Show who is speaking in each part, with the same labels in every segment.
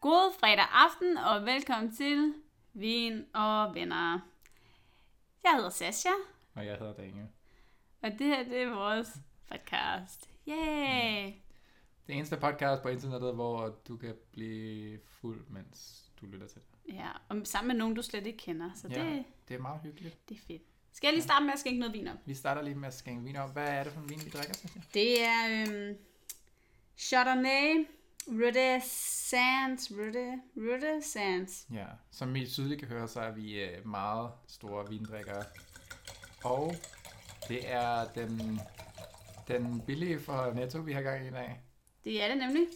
Speaker 1: God fredag aften, og velkommen til Vin og Venner. Jeg hedder Sasha,
Speaker 2: Og jeg hedder Daniel.
Speaker 1: og det her det er vores podcast. Yay!
Speaker 2: Det eneste podcast på internettet, hvor du kan blive fuld, mens du lytter til det.
Speaker 1: Ja, og sammen med nogen, du slet ikke kender, så det,
Speaker 2: Ja. Det er meget hyggeligt.
Speaker 1: det er fedt. Skal jeg lige starte med at skænke noget vin op?
Speaker 2: Vi starter lige med at skænke vin op. Hvad er det for en vin, vi drikker, synes jeg?
Speaker 1: Det er øhm, Chardonnay, Røde Sands, Røde, Røde Sands.
Speaker 2: Ja, som I tydeligt kan høre, så er vi øh, meget store vindrikkere. Og det er den, den billige fra Netto, vi har gang i i dag.
Speaker 1: Det er det nemlig.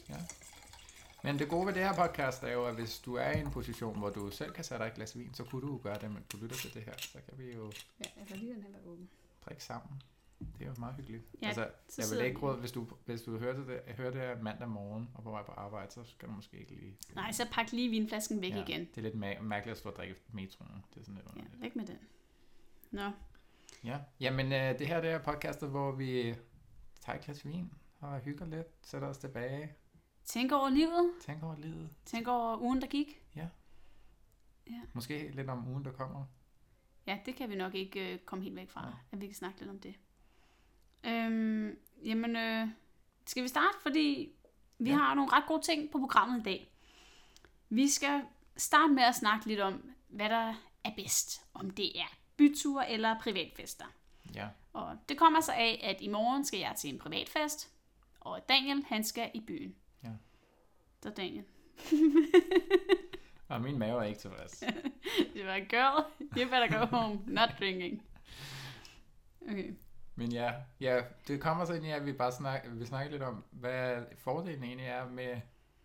Speaker 2: Men det gode ved det her podcast er jo, at hvis du er i en position, hvor du selv kan sætte dig et glas vin, så kunne du jo gøre det, men du lytter til det her. Så kan vi jo
Speaker 1: Ja, jeg kan lige den her være åben.
Speaker 2: drikke sammen. Det er jo meget hyggeligt.
Speaker 1: Ja,
Speaker 2: altså,
Speaker 1: så
Speaker 2: jeg
Speaker 1: sidder
Speaker 2: vil ikke
Speaker 1: vi-
Speaker 2: råde, hvis du, hvis du hører det, der- hører det her mandag morgen og på vej på arbejde, så skal du måske ikke lige...
Speaker 1: Nej, så pak lige vinflasken væk
Speaker 2: Ja,
Speaker 1: igen.
Speaker 2: Det er lidt ma- mærkeligt at stå og drikke i metroen. Det er sådan lidt
Speaker 1: Ja,
Speaker 2: underligt.
Speaker 1: væk med den. Nå,
Speaker 2: Ja. Jamen, øh, det her det er podcastet, hvor vi tager et glas vin og hygger lidt, sætter os tilbage,
Speaker 1: tænk over livet.
Speaker 2: tænker over livet.
Speaker 1: Tænk over ugen, der gik.
Speaker 2: Måske lidt om ugen, der kommer.
Speaker 1: Ja, det kan vi nok ikke øh, komme helt væk fra,
Speaker 2: Nej.
Speaker 1: at vi kan snakke lidt om det. Øhm, jamen, øh, skal vi starte? Fordi vi
Speaker 2: Ja.
Speaker 1: ja. har nogle ret gode ting på programmet i dag. Vi skal starte med at snakke lidt om, hvad der er bedst. Om det er byture eller privatfester.
Speaker 2: Ja.
Speaker 1: Og det kommer så af, at i morgen skal jeg til en privatfest, og Daniel, han skal i byen.
Speaker 2: Ja.
Speaker 1: Så Daniel,
Speaker 2: Og min mave er ikke tilfreds.
Speaker 1: det var girl, you better go home, not drinking. Okay.
Speaker 2: Men ja, ja, det kommer så ind i, at vi bare snak, vi snakker lidt om, hvad fordelen egentlig er med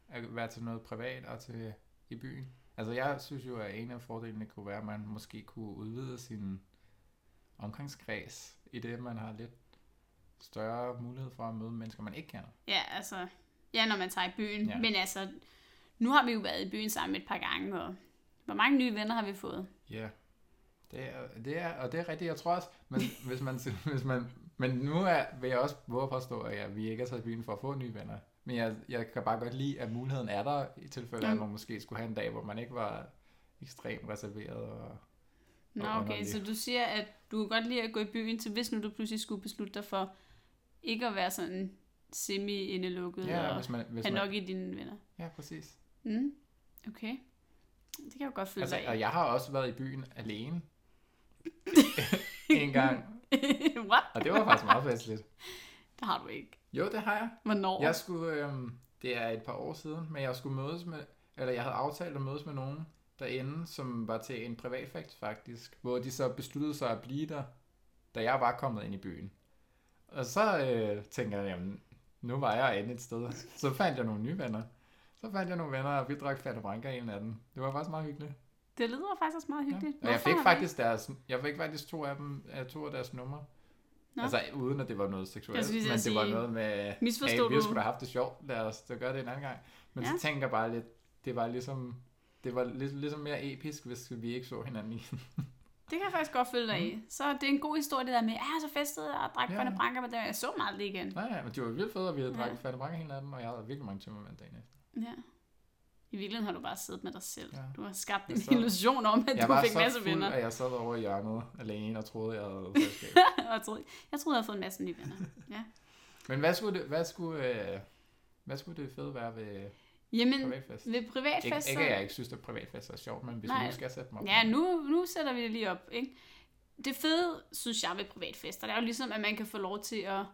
Speaker 2: at være til noget privat og til i byen. Altså jeg synes jo, at en af fordelene kunne være, at man måske kunne udvide sin omgangskreds i det, man har lidt større mulighed for at møde mennesker, man ikke kender.
Speaker 1: Ja, altså, ja, når man tager i byen.
Speaker 2: Ja.
Speaker 1: Men altså, nu har vi jo været i byen sammen et par gange, og hvor mange nye venner har vi fået?
Speaker 2: Ja, det er, det er, og det er rigtigt, jeg tror også, men hvis man, hvis man, men nu er, vil jeg også våge at påstå, at jeg, vi ikke er taget i byen for at få nye venner. Men jeg, jeg kan bare godt lide, at muligheden er der, i tilfælde af, at
Speaker 1: Mm.
Speaker 2: man måske skulle have en dag, hvor man ikke var ekstremt reserveret. Og,
Speaker 1: Nå,
Speaker 2: Åh,
Speaker 1: okay,
Speaker 2: underligt.
Speaker 1: så du siger, at du kan godt lide at gå i byen, så hvis nu du pludselig skulle beslutte dig for ikke at være sådan semi-indelukket
Speaker 2: ja,
Speaker 1: og
Speaker 2: hvis man, hvis
Speaker 1: have
Speaker 2: man,
Speaker 1: nok i dine venner.
Speaker 2: ja, præcis.
Speaker 1: Mm. Okay. Det kan jeg jo godt følge
Speaker 2: Altså,
Speaker 1: altså,
Speaker 2: og
Speaker 1: dig
Speaker 2: jeg har også været i byen alene. en gang.
Speaker 1: i. What?
Speaker 2: Og det var faktisk meget festligt.
Speaker 1: Det har du ikke.
Speaker 2: Jo, det har jeg.
Speaker 1: Hvornår?
Speaker 2: Jeg skulle, øhm, det er et par år siden, men jeg skulle mødes med, eller jeg havde aftalt at mødes med nogen derinde, som var til en privatfest faktisk, hvor de så besluttede sig at blive der, da jeg var kommet ind i byen. Og så øh, tænker jeg, jamen, nu var jeg inde et sted. Så fandt jeg nogle nye venner. Så fandt jeg nogle venner, og vi drak Fanta Branca en af dem. Det var faktisk meget hyggeligt.
Speaker 1: Det lyder faktisk også meget hyggeligt.
Speaker 2: Ja. Og jeg
Speaker 1: Mhm. Hvorfor
Speaker 2: fik,
Speaker 1: har vi
Speaker 2: faktisk deres, jeg fik faktisk to af dem, øh, to af deres numre.
Speaker 1: Nå.
Speaker 2: Altså uden at det var noget seksuelt,
Speaker 1: Jeg skulle lige
Speaker 2: men
Speaker 1: til
Speaker 2: det
Speaker 1: at
Speaker 2: var
Speaker 1: sige,
Speaker 2: noget med,
Speaker 1: misforstod
Speaker 2: hey, vi
Speaker 1: du-
Speaker 2: skulle da have haft det sjovt, lad os da gøre det en anden gang. Men
Speaker 1: Ja.
Speaker 2: så tænker jeg bare lidt, det var ligesom, det var lig- ligesom mere episk, hvis vi ikke så hinanden i.
Speaker 1: ikke- Det kan jeg faktisk godt følge dig i. Så det er en god historie, det der med, ja, så festede jeg og drak
Speaker 2: Ja.
Speaker 1: ja. branker med dem. Jeg så meget det igen.
Speaker 2: Nej, nej, men det var vildt fedt, og vi havde
Speaker 1: Ja.
Speaker 2: ja. drukket fatte mange hinanden, og jeg havde virkelig mange tømmermænd dagen efter.
Speaker 1: Ja. I virkeligheden har du bare siddet med dig selv.
Speaker 2: Ja.
Speaker 1: Du har skabt
Speaker 2: Jeg
Speaker 1: en
Speaker 2: sad-
Speaker 1: illusion om, at
Speaker 2: jeg
Speaker 1: du
Speaker 2: var
Speaker 1: fik
Speaker 2: så
Speaker 1: en masse
Speaker 2: fuld,
Speaker 1: venner.
Speaker 2: at jeg sad over i hjørnet alene og troede, jeg havde selskab.
Speaker 1: Og jeg troede, jeg troede, jeg havde fået en masse nye venner.
Speaker 2: men hvad skulle, det, hvad, skulle, øh, hvad skulle det fede være ved
Speaker 1: Jamen,
Speaker 2: privatfest?
Speaker 1: ved
Speaker 2: Ikke,
Speaker 1: privatfester...
Speaker 2: ikke at jeg ikke synes, at privatfester er sjovt, men hvis
Speaker 1: Nej.
Speaker 2: vi nu skal sætte mig op.
Speaker 1: Ja, nu, nu sætter vi det lige op. Ikke? Det fede, synes jeg, ved privatfester, det er jo ligesom, at man kan få lov til at...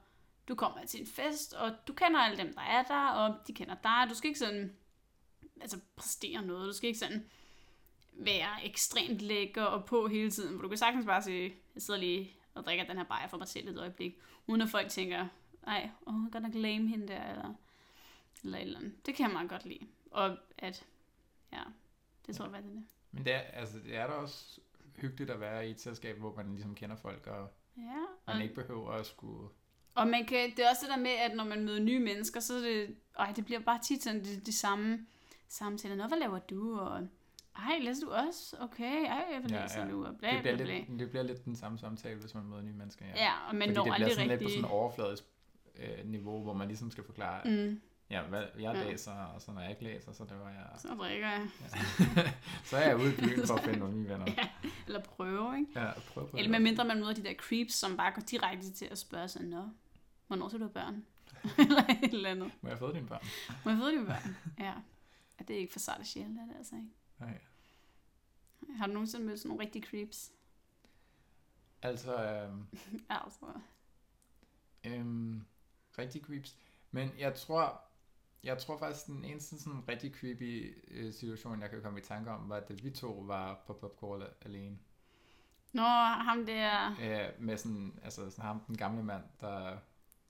Speaker 1: Du kommer til en fest, og du kender alle dem, der er der, og de kender dig. Du skal ikke sådan altså, præstere noget. Du skal ikke sådan være ekstremt lækker og på hele tiden. For du kan sagtens bare sige, jeg sidder lige og drikker den her bajer for mig selv et øjeblik, uden at folk tænker, nej, åh, jeg kan godt nok lame hende der, eller, eller et eller andet. Det kan jeg meget godt lide. Og at, ja, det tror jeg, hvad det er.
Speaker 2: Men det er, altså, det er da også hyggeligt at være i et selskab, hvor man ligesom kender folk, og
Speaker 1: Ja, og,
Speaker 2: man ikke behøver at skulle...
Speaker 1: og man kan, det er også det der med, at når man møder nye mennesker, så er det, ej, det bliver bare tit sådan de, de samme samtaler. Nå, hvad laver du? Og, ej, læser du også? Okay, ej, hvad
Speaker 2: Ja,
Speaker 1: læser
Speaker 2: ja.
Speaker 1: du? Og bla,
Speaker 2: Det bliver,
Speaker 1: bla, bla.
Speaker 2: lidt, det bliver lidt den samme samtale, hvis man møder nye mennesker.
Speaker 1: ja, og man
Speaker 2: Fordi
Speaker 1: når
Speaker 2: det bliver
Speaker 1: aldrig
Speaker 2: sådan lidt på
Speaker 1: rigtig...
Speaker 2: sådan et overfladisk øh, niveau, hvor man ligesom skal forklare, mm.
Speaker 1: Mm,
Speaker 2: Ja, hvad, jeg
Speaker 1: Ja.
Speaker 2: læser, og så når jeg ikke læser, så løber jeg.
Speaker 1: Så drikker jeg.
Speaker 2: så er jeg ude i byen for at finde nogle nye venner.
Speaker 1: Eller prøver, ikke?
Speaker 2: Ja, prøv på
Speaker 1: Eller med mindre man møder de der creeps, som bare går direkte til at spørge sig, Nå, hvornår skal du have børn? eller et eller andet.
Speaker 2: Må jeg have fået dine børn?
Speaker 1: Må jeg få dine børn? Ja. ja. det er ikke for sart og sjældent, er det altså ikke?
Speaker 2: Nej.
Speaker 1: Har du nogensinde mødt sådan nogle rigtige creeps?
Speaker 2: Altså, øhm,
Speaker 1: altså.
Speaker 2: øhm, rigtig creeps. Men jeg tror, jeg tror faktisk, den eneste sådan rigtig creepy øh, situation, jeg kan komme i tanke om, var, da vi to var på popcorn alene.
Speaker 1: Nå, ham der,
Speaker 2: Øh, med sådan, altså sådan ham, den gamle mand, der...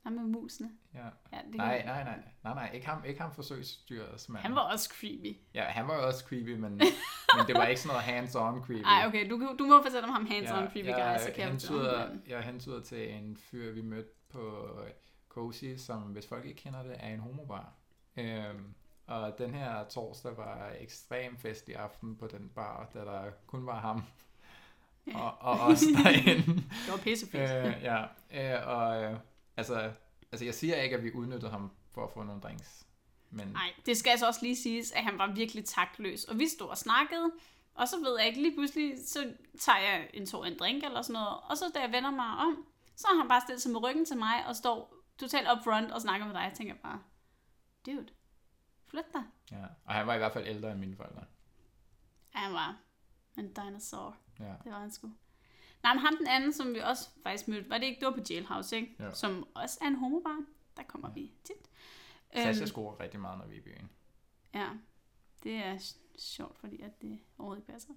Speaker 1: ham med musene.
Speaker 2: Ja.
Speaker 1: Ja, det kan
Speaker 2: Nej, nej, nej, nej, nej, ikke ham, ikke ham forsøgsdyrets mand.
Speaker 1: Han var også creepy.
Speaker 2: Ja, han var jo også creepy, men, men det var ikke sådan noget hands-on creepy.
Speaker 1: Ej, okay, du, kan- du må fortælle om ham hands-on
Speaker 2: Ja,
Speaker 1: creepy guy, så kan jeg fortælle om
Speaker 2: hentyder,
Speaker 1: ham.
Speaker 2: jeg hentyder til en fyr, vi mødte på øh, Cozy, som hvis folk ikke kender det, er en homobar. Øhm, og den her torsdag var ekstrem fest i aften på den bar, da der kun var ham og, og os derinde.
Speaker 1: Det var pissefedt.
Speaker 2: øh, ja, øh, og øh, altså, altså, jeg siger ikke, at vi udnyttede ham for at få nogle drinks. Men
Speaker 1: Nej, det skal altså også lige siges, at han var virkelig taktløs. Og vi stod og snakkede, og så ved jeg ikke, lige pludselig, så tager jeg en tår en drink eller sådan noget. Og så da jeg vender mig om, så har han bare stillet sig med ryggen til mig og står totalt upfront og snakker med dig. Jeg tænker bare, dude, flyt dig.
Speaker 2: ja. Og han var i hvert fald ældre end mine forældre.
Speaker 1: Ja, han var en dinosaur.
Speaker 2: Ja.
Speaker 1: Det var han sgu. Nej, men ham den anden, som vi også faktisk mødte, var det ikke, det var på Jailhouse, ikke?
Speaker 2: Jo.
Speaker 1: Som også er en homobar. Der kommer
Speaker 2: Ja.
Speaker 1: vi tit.
Speaker 2: Sasha
Speaker 1: Øhm,
Speaker 2: scorer rigtig meget, når vi er i byen.
Speaker 1: Ja, det er sj- sjovt, fordi at det overhovedet ikke passer.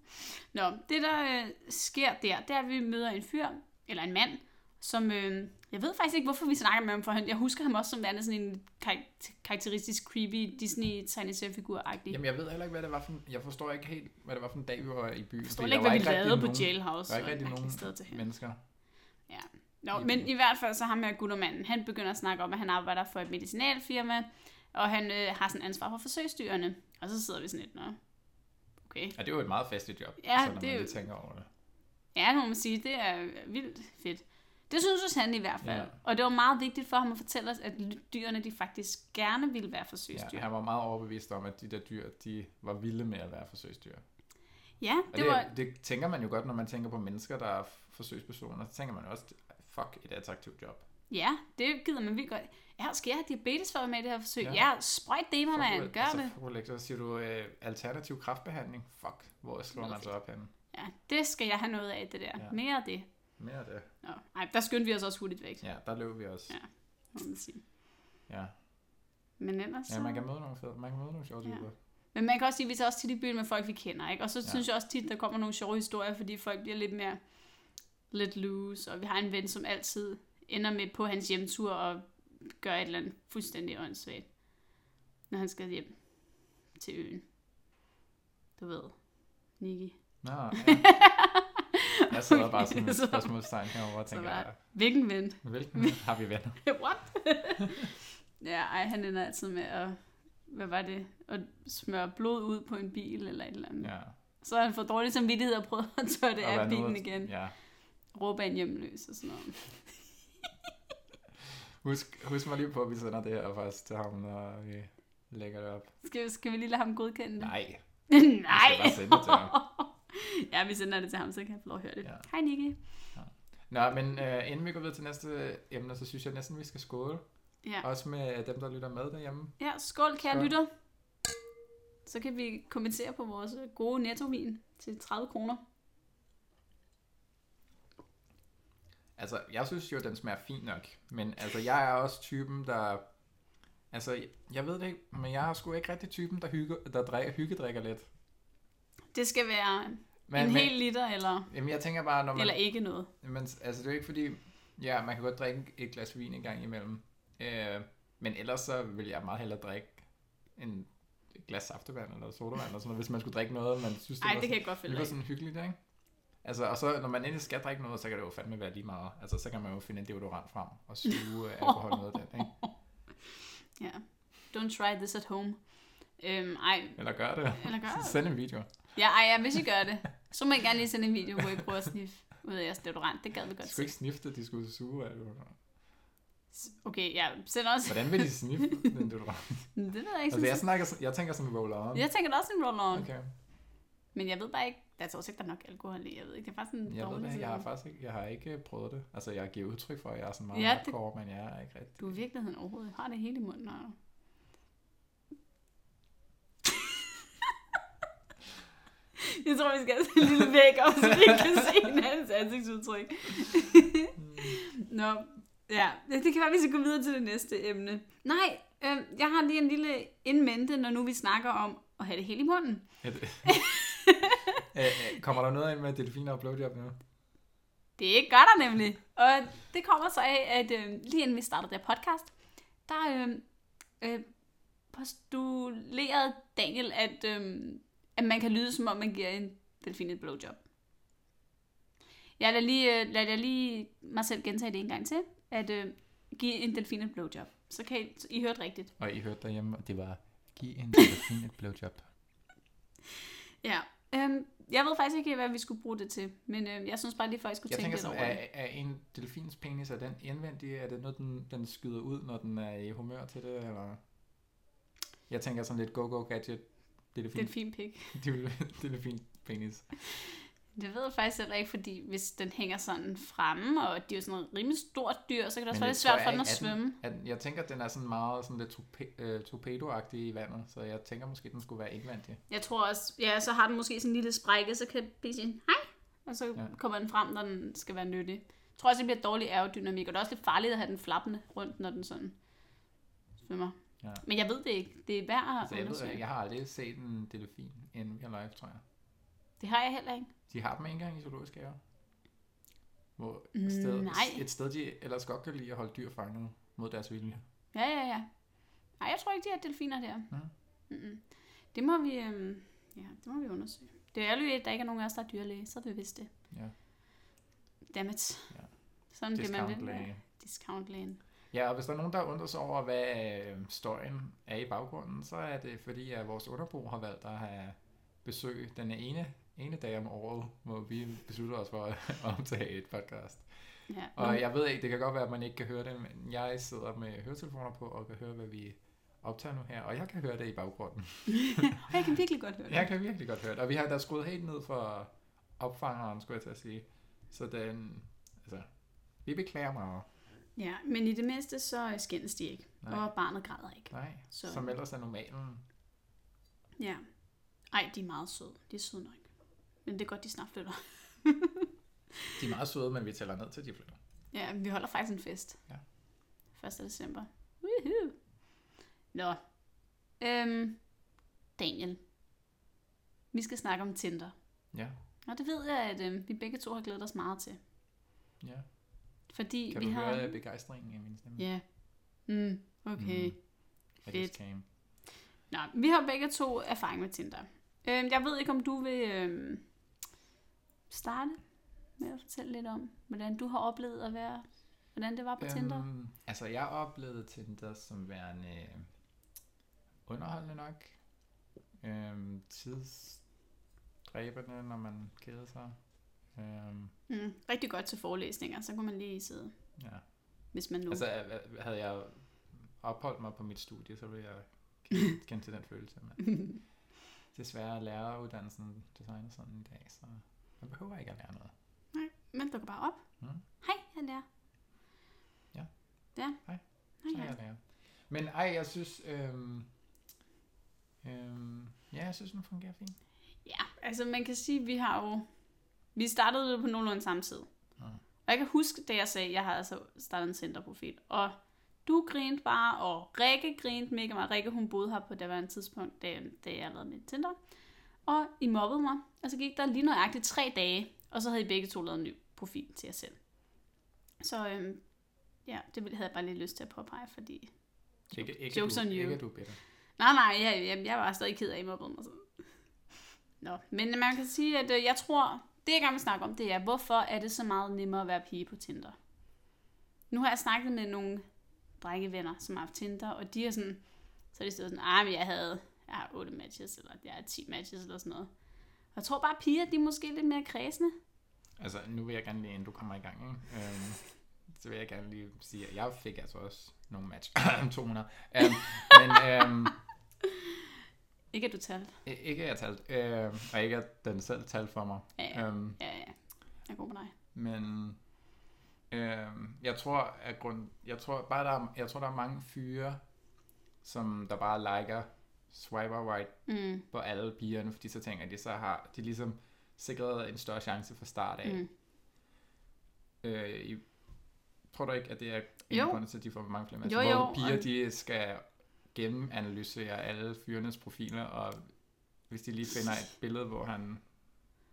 Speaker 1: Nå, det der øh, sker der, det er, at vi møder en fyr, eller en mand, som, øh, jeg ved faktisk ikke, hvorfor vi snakker med ham, for han, jeg husker ham også som værende sådan en kar- karakteristisk creepy disney tegneseriefigur agtig
Speaker 2: Jamen, jeg ved heller ikke, hvad det var for en, Jeg forstår ikke helt, hvad det var for en dag, vi var i byen.
Speaker 1: Jeg forstår
Speaker 2: fordi
Speaker 1: heller ikke,
Speaker 2: der var
Speaker 1: hvad vi
Speaker 2: rigtig
Speaker 1: lavede på
Speaker 2: nogen-
Speaker 1: Jailhouse.
Speaker 2: Der var ikke
Speaker 1: og
Speaker 2: rigtig
Speaker 1: et mærkeligt
Speaker 2: nogen
Speaker 1: sted til hen.
Speaker 2: mennesker.
Speaker 1: Nå, men i hvert fald så ham her guttermanden, han begynder at snakke om, at han arbejder for et medicinalfirma, og han øh, har sådan ansvar for forsøgsdyrene. Og så sidder vi sådan lidt, nå, okay.
Speaker 2: Ja, det var et meget festligt job,
Speaker 1: Ja,
Speaker 2: så når
Speaker 1: det er
Speaker 2: man
Speaker 1: jo-
Speaker 2: lige tænker over det.
Speaker 1: Ja, det må man sige, det er vildt fedt. Det synes han i hvert fald. Ja.
Speaker 2: Ja.
Speaker 1: Og det var meget vigtigt for ham at fortælle os, at dyrene de faktisk gerne ville være forsøgsdyr.
Speaker 2: Ja,
Speaker 1: Ja,
Speaker 2: han var meget overbevist om, at de der dyr, de var vilde med at være forsøgsdyr.
Speaker 1: ja
Speaker 2: Og
Speaker 1: det,
Speaker 2: det,
Speaker 1: var...
Speaker 2: det tænker man jo godt, når man tænker på mennesker, der er f- forsøgspersoner. Så tænker man jo også, fuck, et attraktivt job.
Speaker 1: Ja, det gider man vildt godt. Ja, skal jeg have diabetes for at være med i det her forsøg? Ja,
Speaker 2: Ja.
Speaker 1: ja sprøjt det i mig, mand. Gør
Speaker 2: altså,
Speaker 1: det.
Speaker 2: det. Så siger du, øh, alternativ kraftbehandling, fuck, hvor slår man så op henne?
Speaker 1: Ja, det skal jeg have noget af, det der. Ja.
Speaker 2: Ja.
Speaker 1: Mere af det.
Speaker 2: Mere af det.
Speaker 1: Nå, nej, der skyndte vi os også hurtigt væk,
Speaker 2: Ja, der løb vi også.
Speaker 1: Ja. må man sige.
Speaker 2: Ja,
Speaker 1: Men ellers...
Speaker 2: ja man kan møde nogle fede, man kan møde nogle sjove
Speaker 1: Ja.
Speaker 2: typer.
Speaker 1: Men man kan også sige, at vi tager også tit i byen med folk, vi kender, ikke? Og så ja.
Speaker 2: Ja.
Speaker 1: synes jeg også tit, der kommer nogle sjove historier, fordi folk bliver lidt mere lidt loose, og vi har en ven, som altid ender med på hans hjemtur og gør et eller andet fuldstændig åndssvagt, når han skal hjem til øen. Du ved, Niki.
Speaker 2: Nå, ja. Jeg sidder bare sådan med et
Speaker 1: Så-
Speaker 2: spørgsmålstegn herovre og tænker,
Speaker 1: var- Hvilken ven?
Speaker 2: hvilken har vi venner?
Speaker 1: What? ja, ej, han ender altid med at, hvad var det, at smøre blod ud på en bil eller et eller andet. Ja.
Speaker 2: Ja.
Speaker 1: Så har han fået dårlig samvittighed og prøvet at tørre det
Speaker 2: Og
Speaker 1: af
Speaker 2: være nede
Speaker 1: bilen
Speaker 2: og-
Speaker 1: igen.
Speaker 2: Ja.
Speaker 1: råbe af en hjemløs og sådan noget.
Speaker 2: Husk, husk mig lige på, at vi sender det her faktisk til ham, når vi lægger det op.
Speaker 1: Skal, skal vi lige lade ham godkende det?
Speaker 2: Nej,
Speaker 1: Nej.
Speaker 2: vi skal bare sende det til ham.
Speaker 1: ja, vi sender det til ham, så kan han få lov at høre det. Ja.
Speaker 2: Ja.
Speaker 1: Hej Nicky.
Speaker 2: Nå, men øh, inden vi går videre til næste emne, så synes jeg næsten, vi skal skåle.
Speaker 1: Ja.
Speaker 2: Også med dem, der lytter med derhjemme.
Speaker 1: ja, skål kære
Speaker 2: Skål.
Speaker 1: lytter. Så kan vi kommentere på vores gode nettovin til 30 kroner.
Speaker 2: Altså, jeg synes jo, den smager fint nok. Men altså, jeg er også typen, der... Altså, jeg ved det ikke, men jeg er sgu ikke rigtig typen, der, hygge, der drikker, hyggedrikker lidt.
Speaker 1: Det skal være
Speaker 2: Men,
Speaker 1: en
Speaker 2: men,
Speaker 1: hel liter eller,
Speaker 2: Jamen, jeg tænker bare, når man...
Speaker 1: eller ikke noget.
Speaker 2: Men altså, det er jo ikke fordi, ja, man kan godt drikke et glas vin en gang imellem. Øh, men ellers så vil jeg meget hellere drikke en et glas saftevand eller sodavand eller sådan noget, hvis man skulle drikke noget, man synes, det,
Speaker 1: Nej,
Speaker 2: var,
Speaker 1: det
Speaker 2: sådan,
Speaker 1: kan jeg godt følge
Speaker 2: det var
Speaker 1: dig i.
Speaker 2: sådan hyggeligt, ikke? Altså, og så når man endelig skal drikke noget, så kan det jo fandme være lige meget. Altså, så kan man jo finde en deodorant frem og suge øh, alkohol noget af den, ikke?
Speaker 1: Ja. Don't try this at home. Øhm, ej,
Speaker 2: Eller gør det.
Speaker 1: eller gør det.
Speaker 2: Send en video.
Speaker 1: Ja, ej, ja, hvis I gør det, så må I gerne lige sende en video, hvor I prøver at sniffe ud af jeres deodorant. Det gad vi
Speaker 2: De
Speaker 1: godt
Speaker 2: skulle
Speaker 1: se.
Speaker 2: ikke snifte, de skulle suge af deodorant.
Speaker 1: Okay, ja, send også.
Speaker 2: Hvordan vil de sniffe den deodorant?
Speaker 1: det ved jeg ikke.
Speaker 2: Altså, jeg,
Speaker 1: sådan
Speaker 2: snakker, sådan- jeg tænker som en roll-on.
Speaker 1: set. jeg tænker da også en roll-on. Okay.
Speaker 2: Okay.
Speaker 1: Men jeg ved bare ikke, der er så også ikke, der er nok alkohol i. Jeg ved ikke, det er faktisk en
Speaker 2: Jeg ved
Speaker 1: dårlig
Speaker 2: det, jeg har
Speaker 1: side.
Speaker 2: faktisk ikke, jeg har ikke øh, prøvet det. Altså, jeg giver udtryk for, at jeg er sådan meget
Speaker 1: Ja,
Speaker 2: ja,
Speaker 1: det-
Speaker 2: hardcore, men jeg er ikke rigtig.
Speaker 1: Du i virkeligheden overhovedet har det hele i munden. Og... jeg tror, vi skal have sådan en lille væg op, så vi kan se hinandens ansigtsudtryk.
Speaker 2: Hmm.
Speaker 1: Nå, ja. Det kan være, vi skal gå videre til det næste emne. Nej, øh, jeg har lige en lille indmente, når nu vi snakker om at have det hele i munden.
Speaker 2: Et- Øh, øh, Kommer der noget ind med delfiner og blowjob nu?
Speaker 1: Det gør der nemlig. Og det kommer så af, at øh, lige inden vi startede der podcast, der øh, øh, postulerede Daniel, at, øh, at man kan lyde, som om man giver en delfin et blowjob. Jeg lader lige, øh, lader jeg lige mig selv gentage det en gang til, at øh, give en delfin et blowjob. Så kan I, I hørte rigtigt.
Speaker 2: Og I hørte derhjemme, og det var, giv en delfin et blowjob.
Speaker 1: Ja. Øh, jeg ved faktisk ikke, hvad vi skulle bruge det til, men øh, jeg synes bare lige, at folk skulle
Speaker 2: Jeg
Speaker 1: tænke
Speaker 2: tænker
Speaker 1: lidt
Speaker 2: sådan,
Speaker 1: over det.
Speaker 2: er, er en delfins penis, er den indvendig? Er det noget, den, den skyder ud, når den er i humør til det? Eller? Jeg tænker sådan lidt go-go gadget. Delfin,
Speaker 1: Delfin pik.
Speaker 2: delfin. delfin penis.
Speaker 1: Det ved jeg faktisk heller ikke, fordi hvis den hænger sådan fremme, og det er jo sådan et rimelig stort dyr, så kan det også
Speaker 2: Men
Speaker 1: være
Speaker 2: jeg
Speaker 1: lidt svært
Speaker 2: tror,
Speaker 1: for den
Speaker 2: jeg
Speaker 1: at
Speaker 2: ikke, at
Speaker 1: svømme.
Speaker 2: At, jeg tænker, at den er sådan meget sådan lidt torpe- øh, torpedoagtig i vandet, så jeg tænker måske, at den skulle være indvendig.
Speaker 1: Jeg tror også, ja, så har den måske sådan en lille sprække, så kan den sige hej, og så
Speaker 2: Ja.
Speaker 1: ja. kommer den frem, når den skal være nyttig. Jeg tror også, det bliver dårlig aerodynamik, og det er også lidt farligt at have den flappende rundt, når den sådan svømmer.
Speaker 2: Ja.
Speaker 1: Men jeg ved det ikke. Det er værd
Speaker 2: Så
Speaker 1: at
Speaker 2: Altså, jeg, ved,
Speaker 1: undersøge.
Speaker 2: ikke, jeg har aldrig set en delfin in real life, tror jeg.
Speaker 1: Det har jeg heller ikke.
Speaker 2: De har dem ikke engang i zoologiske haver. Hvor
Speaker 1: Mm,
Speaker 2: et sted,
Speaker 1: nej.
Speaker 2: et sted, de ellers godt kan lide at holde dyr fanget mod deres vilje.
Speaker 1: Ja, ja, ja. Nej, jeg tror ikke, de har delfiner der.
Speaker 2: Mhm.
Speaker 1: Mm-mm. Det må vi, øhm, ja, det må vi undersøge. Det er ærgerligt, at der ikke er nogen af os, der er dyrlæge, så havde vi vidste det.
Speaker 2: Ja.
Speaker 1: Dammit.
Speaker 2: Ja.
Speaker 1: Sådan bliver man
Speaker 2: Discount
Speaker 1: ved.
Speaker 2: læge.
Speaker 1: Ja, Discountlægen.
Speaker 2: Ja, og hvis der er nogen, der undrer sig over, hvad øh, støjen er i baggrunden, så er det fordi, at vores underbo har valgt at have besøg den ene, ene dag om året, hvor vi beslutter os for at omtage et podcast.
Speaker 1: Ja.
Speaker 2: Og
Speaker 1: Nå,
Speaker 2: jeg ved ikke, det kan godt være, at man ikke kan høre det, men jeg sidder med høretelefoner på og kan høre, hvad vi optager nu her, og jeg kan høre det i baggrunden.
Speaker 1: og jeg kan virkelig godt høre det.
Speaker 2: Jeg kan virkelig godt høre det, og vi har da skruet helt ned for opfangeren, skulle jeg til at sige. Så den, altså, vi beklager meget.
Speaker 1: Ja, men i det mindste, så skændes de ikke.
Speaker 2: Nej.
Speaker 1: Og barnet græder ikke.
Speaker 2: Nej,
Speaker 1: Så-
Speaker 2: som ellers er normalen.
Speaker 1: Ja. Ej, de er meget søde. De er søde nok. Men det er godt, de snart flytter.
Speaker 2: De er meget søde, men vi tæller ned til de flytter.
Speaker 1: Ja, vi holder faktisk en fest.
Speaker 2: Ja.
Speaker 1: 1. december. Woohoo! Nå. Øhm, Daniel. Vi skal snakke om Tinder.
Speaker 2: Ja,
Speaker 1: Og det ved jeg, at øh, vi begge to har glædet os meget til.
Speaker 2: ja.
Speaker 1: Fordi
Speaker 2: Kan
Speaker 1: vi
Speaker 2: du
Speaker 1: har...
Speaker 2: høre begejstringen i min stemme?
Speaker 1: Ja. Mm, okay.
Speaker 2: Mm. I just
Speaker 1: fedt.
Speaker 2: came.
Speaker 1: Nå, vi har begge to erfaring med Tinder. Øhm, jeg ved ikke, om du vil øhm, starte med at fortælle lidt om, hvordan du har oplevet at være... Hvordan det var på øhm, Tinder.
Speaker 2: Øhm, altså, jeg oplevede Tinder som værende øh, underholdende nok. Øhm, tidsdræbende, når man keder sig. Øhm,
Speaker 1: Mm, rigtig godt til forelæsninger, så kunne man lige sidde,
Speaker 2: ja.
Speaker 1: hvis man nu...
Speaker 2: Altså, øh, havde jeg opholdt mig på mit studie, så ville jeg kende- kende til den følelse. Men desværre er læreruddannelsen designet sådan i dag, så man behøver ikke at lære noget.
Speaker 1: Men du går bare op.
Speaker 2: Mm.
Speaker 1: Hej, han er.
Speaker 2: Ja.
Speaker 1: Ja.
Speaker 2: Hej. Så
Speaker 1: Hej,
Speaker 2: er
Speaker 1: hej.
Speaker 2: jeg lærer. Men ej, jeg synes... Øhm, øhm, ja, jeg synes, den fungerer fint.
Speaker 1: Ja, altså man kan sige, at vi har jo... Vi startede jo på nogenlunde samme tid.
Speaker 2: Ja.
Speaker 1: Og jeg kan huske, da jeg sagde, at jeg havde altså startet en centerprofil. Og du grinte bare, og Rikke grinte mega meget. Rikke, hun boede her på det var en tidspunkt, da, da jeg lavede mit Tinder. Og I mobbede mig, og så gik der lige nøjagtigt tre dage, og så havde I begge to lavet en ny profil til jer selv. Så øhm, ja, det ville- havde jeg bare lige lyst til at påpege, fordi...
Speaker 2: Ikke, ikke,
Speaker 1: Jokes
Speaker 2: du,
Speaker 1: on you.
Speaker 2: ikke at du er bitter.
Speaker 1: Nej, nej, jeg, jeg, jeg var stadig ked af, at I mobbede mig. Så. Nå, men man kan sige, at øh, jeg tror, det jeg gerne vil snakke om, det er, hvorfor er det så meget nemmere at være pige på Tinder? Nu har jeg snakket med nogle drengevenner, som har haft Tinder, og de er sådan, så er de stået sådan, ah, men jeg havde, jeg har 8 matches, eller jeg har 10 matches, eller sådan noget. Og jeg tror bare, at piger, de er måske lidt mere kredsende.
Speaker 2: Altså, nu vil jeg gerne lige, inden du kommer i gang. Ikke? Øhm, så vil jeg gerne lige sige, at jeg fik altså også nogle match. 200. Um, men um,
Speaker 1: Ikke at du talte.
Speaker 2: ikke at jeg talte, um, og ikke at den selv talte for mig.
Speaker 1: Ja, ja.
Speaker 2: Um,
Speaker 1: Ja, ja. Jeg er god med dig.
Speaker 2: Men øh, jeg tror, at grund, jeg tror bare, der er, jeg tror, der er mange fyre, som der bare liker swiper right
Speaker 1: Mm,
Speaker 2: på alle pigerne, fordi så tænker de, så har de ligesom sikret en større chance fra start af.
Speaker 1: mm.
Speaker 2: Mm. Øh, I, tror du ikke, at det er en
Speaker 1: Jo.
Speaker 2: grund til, at de får mange flere
Speaker 1: Jo, jo,
Speaker 2: Hvor piger,
Speaker 1: og-
Speaker 2: de skal gennemanalysere alle fyrenes profiler, og hvis de lige finder et billede, hvor han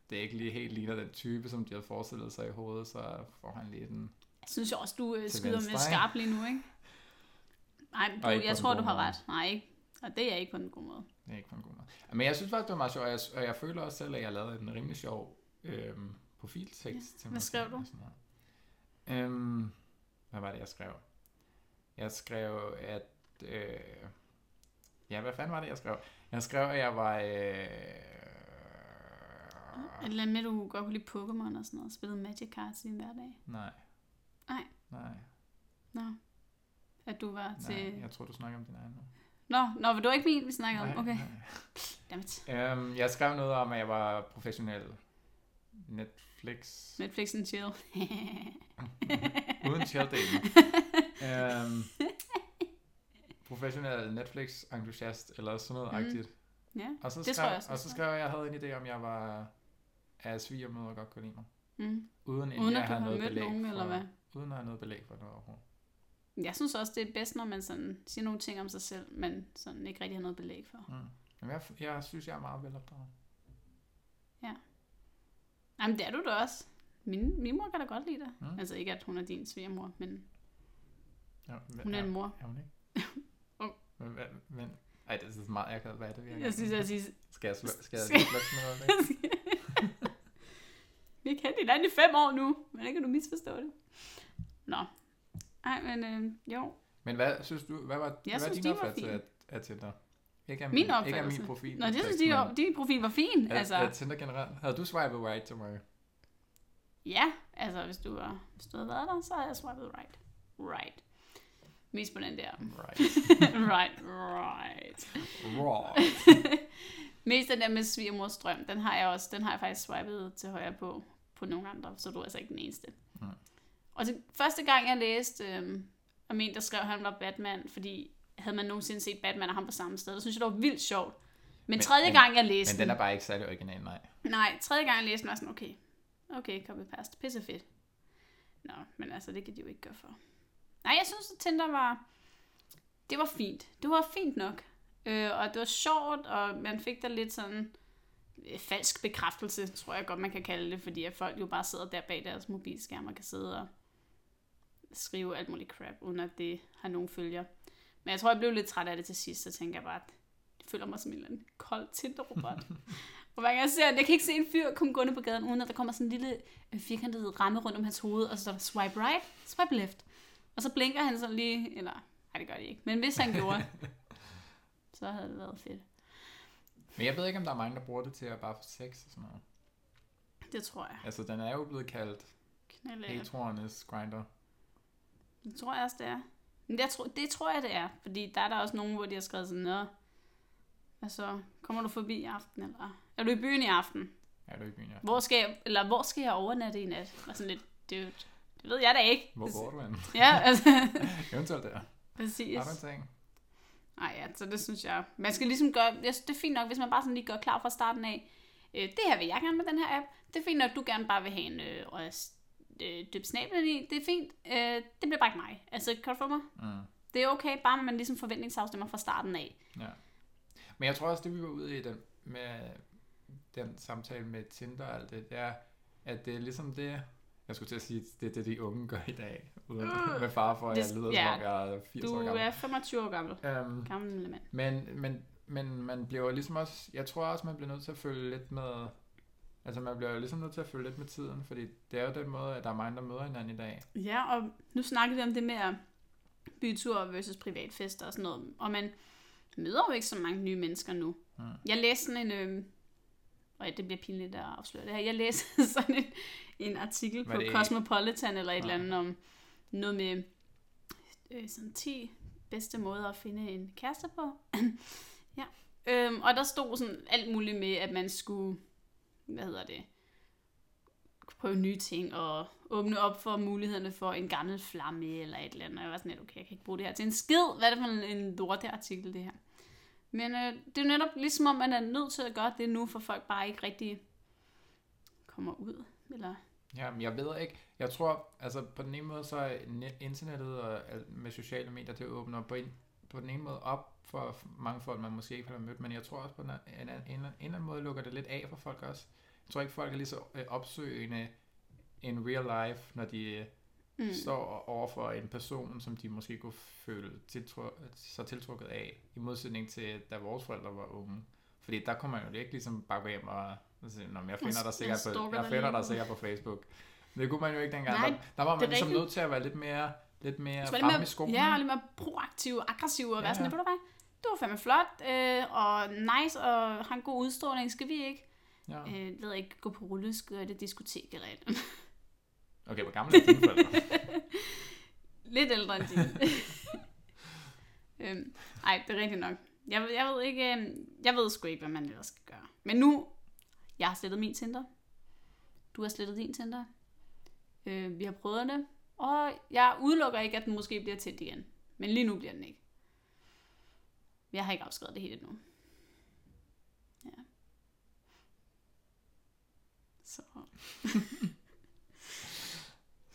Speaker 2: det ikke lige helt ligner den type, som de havde forestillet sig i hovedet, så får han lige den
Speaker 1: Jeg synes jo også, du øh,
Speaker 2: Til
Speaker 1: skyder med
Speaker 2: venstre, ikke?
Speaker 1: skarp lige nu, ikke? Nej, men du,
Speaker 2: Og ikke på
Speaker 1: jeg
Speaker 2: den
Speaker 1: tror,
Speaker 2: gode
Speaker 1: du har
Speaker 2: måde.
Speaker 1: ret. Nej, ikke. Og det er ikke på den gode måde.
Speaker 2: Det er ikke på en god måde. Men jeg synes faktisk, det var meget sjovt, og jeg, og jeg føler også selv, at jeg lavede en rimelig sjov øhm, profiltekst. Ja, til
Speaker 1: hvad
Speaker 2: mig
Speaker 1: skrev
Speaker 2: selv
Speaker 1: du?
Speaker 2: og sådan noget. Øhm, hvad var det, jeg skrev? Jeg skrev, at... Øh, ja, hvad fanden var det, jeg skrev? Jeg skrev, at jeg var...
Speaker 1: Et
Speaker 2: Øh,
Speaker 1: eller andet med, du godt kunne lide Pokémon og sådan noget. Spillede Magic Cards i din hverdag.
Speaker 2: nej.
Speaker 1: Nej.
Speaker 2: Nej,
Speaker 1: Nå. At du var til...
Speaker 2: nej, jeg tror, du snakker om din egen nu.
Speaker 1: Nå, nå, men det var ikke min, vi snakkede
Speaker 2: Nej,
Speaker 1: om. Okay,
Speaker 2: nej.
Speaker 1: dammit.
Speaker 2: Øhm, jeg skrev noget om, at jeg var professionel Netflix...
Speaker 1: Netflix and chill.
Speaker 2: Uden tjeldelen. um, professionel Netflix-entusiast, eller sådan noget
Speaker 1: Mhm.
Speaker 2: agtigt.
Speaker 1: ja.
Speaker 2: Og så,
Speaker 1: Det
Speaker 2: skrev,
Speaker 1: tror jeg også,
Speaker 2: og
Speaker 1: jeg
Speaker 2: så
Speaker 1: tror.
Speaker 2: skrev jeg, at jeg havde en idé om, at jeg var af svigermøder godt kunne lide mig.
Speaker 1: Mm.
Speaker 2: Uden,
Speaker 1: Uden
Speaker 2: jeg
Speaker 1: at du
Speaker 2: havde
Speaker 1: har
Speaker 2: noget
Speaker 1: mødt
Speaker 2: belæg
Speaker 1: nogen,
Speaker 2: for,
Speaker 1: eller hvad?
Speaker 2: Uden at have noget belæg for noget overhovedet.
Speaker 1: Jeg synes også, det er bedst, når man sådan siger nogle ting om sig selv, man sådan ikke rigtig har noget belæg for.
Speaker 2: Mm. Jamen, jeg, jeg synes, jeg er meget velopdraget.
Speaker 1: Jamen, det er du da også. Min, min mor kan da godt lide dig.
Speaker 2: Mm.
Speaker 1: Mm. Altså ikke, at hun er din svigermor, men
Speaker 2: Ja, men,
Speaker 1: hun er en mor.
Speaker 2: Er hun ikke?
Speaker 1: Ung.
Speaker 2: Men, hvad- men, ej, det er så meget akavet. Hvad er det, vi har gang
Speaker 1: Jeg synes,
Speaker 2: i?
Speaker 1: jeg siger...
Speaker 2: Skal jeg slå, skal jeg
Speaker 1: Skal-
Speaker 2: slå sådan noget?
Speaker 1: Vi har kendt hinanden i fem år nu. Hvordan kan du misforstå det? Nå. Ej, men øh, jo.
Speaker 2: Men hvad synes du, hvad var, hvad
Speaker 1: synes,
Speaker 2: er din
Speaker 1: de var
Speaker 2: opfattelse af,
Speaker 1: fine.
Speaker 2: af Tinder? Ikke af
Speaker 1: Min
Speaker 2: Ikke af
Speaker 1: opfattelse?
Speaker 2: min profil.
Speaker 1: Nå, det synes de, jo- din profil var fin.
Speaker 2: Altså...
Speaker 1: Altså,
Speaker 2: Af, af Tinder generelt. Havde du swipet right til mig?
Speaker 1: ja, altså hvis du, var, hvis du havde været der, så havde jeg swipet right. Right. Mest på den der.
Speaker 2: Right.
Speaker 1: right, right.
Speaker 2: right.
Speaker 1: Mest den der med svigermors drøm, den har jeg også, den har jeg faktisk swipet til højre på, på nogle andre, så du er altså ikke den eneste.
Speaker 2: Nej.
Speaker 1: Og det, første gang jeg læste øhm, om en, der skrev, at han var Batman, fordi havde man nogensinde set Batman og ham på samme sted, så synes jeg, det var vildt sjovt. Men,
Speaker 2: Men-
Speaker 1: tredje
Speaker 2: men-
Speaker 1: gang jeg læste
Speaker 2: Men den er bare ikke særlig original, nej.
Speaker 1: Nej, tredje gang jeg læste den, var jeg sådan, okay, okay, copy past, pisse fedt. Nå, men altså, det kan de jo ikke gøre for. Nej, jeg synes, at Tinder var, det var fint. Det var fint nok. Øh, og det var sjovt, og man fik der lidt sådan øh, falsk bekræftelse, tror jeg godt, man kan kalde det, fordi at folk jo bare sidder der bag deres mobilskærm og kan sidde og skrive alt muligt crap, uden at det har nogen følger. Men jeg tror, jeg blev lidt træt af det til sidst, så tænker jeg bare, at jeg føler mig som en eller anden kold Tinder-robot. Og hver gang jeg ser, jeg kan ikke se en fyr komme gående på gaden, uden at der kommer sådan en lille øh, firkantet ramme rundt om hans hoved, og så står der swipe right, swipe left. Og så blinker han sådan lige, eller nej, det gør det ikke, men hvis han gjorde, så havde det været fedt.
Speaker 2: Men jeg ved ikke, om der er mange, der bruger det til at bare få sex og sådan noget.
Speaker 1: Det tror jeg.
Speaker 2: Altså, den er jo blevet kaldt
Speaker 1: Knaldlækkert.
Speaker 2: heteroernes grinder.
Speaker 1: Det tror jeg også, det er. Men jeg tror, det tror jeg, det er. Fordi der er der også nogen, hvor de har skrevet sådan noget. Altså, kommer du forbi i aften, eller er du i byen i aften?
Speaker 2: Er du i byen, ja?
Speaker 1: Hvor skal jeg, eller hvor skal jeg overnatte i nat? Og sådan lidt, dude, det ved jeg da ikke.
Speaker 2: Hvor går du hen?
Speaker 1: Ja, altså,
Speaker 2: Eventuelt der.
Speaker 1: præcis.
Speaker 2: Har du en ting?
Speaker 1: Nej, ja, så det synes jeg. Man skal ligesom gøre, jeg synes, det er fint nok, hvis man bare sådan lige gør klar fra starten af, øh, det her vil jeg gerne med den her app, det er fint nok, du gerne bare vil have en øh, og, øh, dyb snablen i, det er fint, øh, det bliver bare ikke mig. Altså, kan du få mig?
Speaker 2: Mm.
Speaker 1: Det er okay, bare man ligesom forventningsafstemmer fra starten af.
Speaker 2: Ja. Men jeg tror også, det vi var ude i den, med den samtale med Tinder og alt det, det er, at det er ligesom det, jeg skulle til at sige, det er det, de unge gør i dag, uden
Speaker 1: Mm.
Speaker 2: med far for, at jeg
Speaker 1: Det-
Speaker 2: lyder,
Speaker 1: ja.
Speaker 2: som om jeg er 80
Speaker 1: Du
Speaker 2: år gammel.
Speaker 1: er 25 år gammel.
Speaker 2: Um,
Speaker 1: Gammel mand.
Speaker 2: men, men, men man bliver jo ligesom også, jeg tror også, man bliver nødt til at følge lidt med, altså man bliver jo ligesom nødt til at følge lidt med tiden, fordi det er jo den måde, at der er mange, der møder hinanden i dag.
Speaker 1: Ja, og nu snakker vi om det med at byture versus privatfester og sådan noget. Og man møder jo ikke så mange nye mennesker nu.
Speaker 2: Mm.
Speaker 1: Mm. Jeg læste sådan en... Øh, og det bliver pinligt at afsløre det her. Jeg læste sådan en, en artikel
Speaker 2: Var
Speaker 1: på
Speaker 2: det-
Speaker 1: Cosmopolitan eller et eller
Speaker 2: Nej.
Speaker 1: andet om noget med øh, sådan 10 bedste måder at finde en kæreste på. ja. Øhm, og der stod sådan alt muligt med, at man skulle, hvad hedder det, prøve nye ting og åbne op for mulighederne for en gammel flamme eller et eller andet. Og jeg var sådan lidt, okay, jeg kan ikke bruge det her til en skid. Hvad er det for en, en lorteartikel, det her? Men øh, det er jo netop ligesom om, man er nødt til at gøre det nu, for folk bare ikke rigtig kommer ud. Eller
Speaker 2: Jamen, jeg ved ikke. Jeg tror, altså på den ene måde, så er net- internettet og alt med sociale medier, det åbner på, en, på den ene måde op for f- mange folk, man måske ikke har mødt, men jeg tror også på en, a- en, a- en, en eller anden måde lukker det lidt af for folk også. Jeg tror ikke, folk er lige så øh, opsøgende in real life, når de øh, mm. står over for en person, som de måske kunne føle tiltru- sig tiltrukket af, i modsætning til, da vores forældre var unge. Fordi der kommer man jo ikke ligesom bare gå hjem og, og sige, Nå, men jeg finder
Speaker 1: Jeg
Speaker 2: dig sikkert
Speaker 1: stalker
Speaker 2: på,
Speaker 1: dig
Speaker 2: jeg finder
Speaker 1: lige nu."
Speaker 2: dig sikkert på Facebook. Det kunne man jo ikke dengang.
Speaker 1: Nej,
Speaker 2: der, der, var
Speaker 1: det er
Speaker 2: man ligesom
Speaker 1: rigtigt.
Speaker 2: nødt til at være lidt mere, lidt mere
Speaker 1: Jeg tror,
Speaker 2: fremme i
Speaker 1: lidt mere,
Speaker 2: skolen.
Speaker 1: ja, og lidt mere proaktiv og aggressiv og ja, være
Speaker 2: Ja,
Speaker 1: sådan, ja.
Speaker 2: ja.
Speaker 1: ved du hvad, det var fandme flot, øh, og nice, og har en god udstråling, skal vi ikke,
Speaker 2: ja.
Speaker 1: øh, ved jeg ikke, gå på rulleskøjte, diskotek eller et eller andet.
Speaker 2: Okay, hvor gammel er dine forældre?
Speaker 1: Lidt ældre end din. øhm, ej, det er rigtigt nok. Jeg, ved- jeg ved ikke, øh, jeg ved sgu ikke, hvad man ellers skal gøre. Men nu, jeg har slettet min Tinder. Du har slettet din Tinder. Øh, vi har prøvet det. Og jeg udelukker ikke, at den måske bliver tændt igen. Men lige nu bliver den ikke. Jeg har ikke afskrevet det helt endnu. Ja. Så.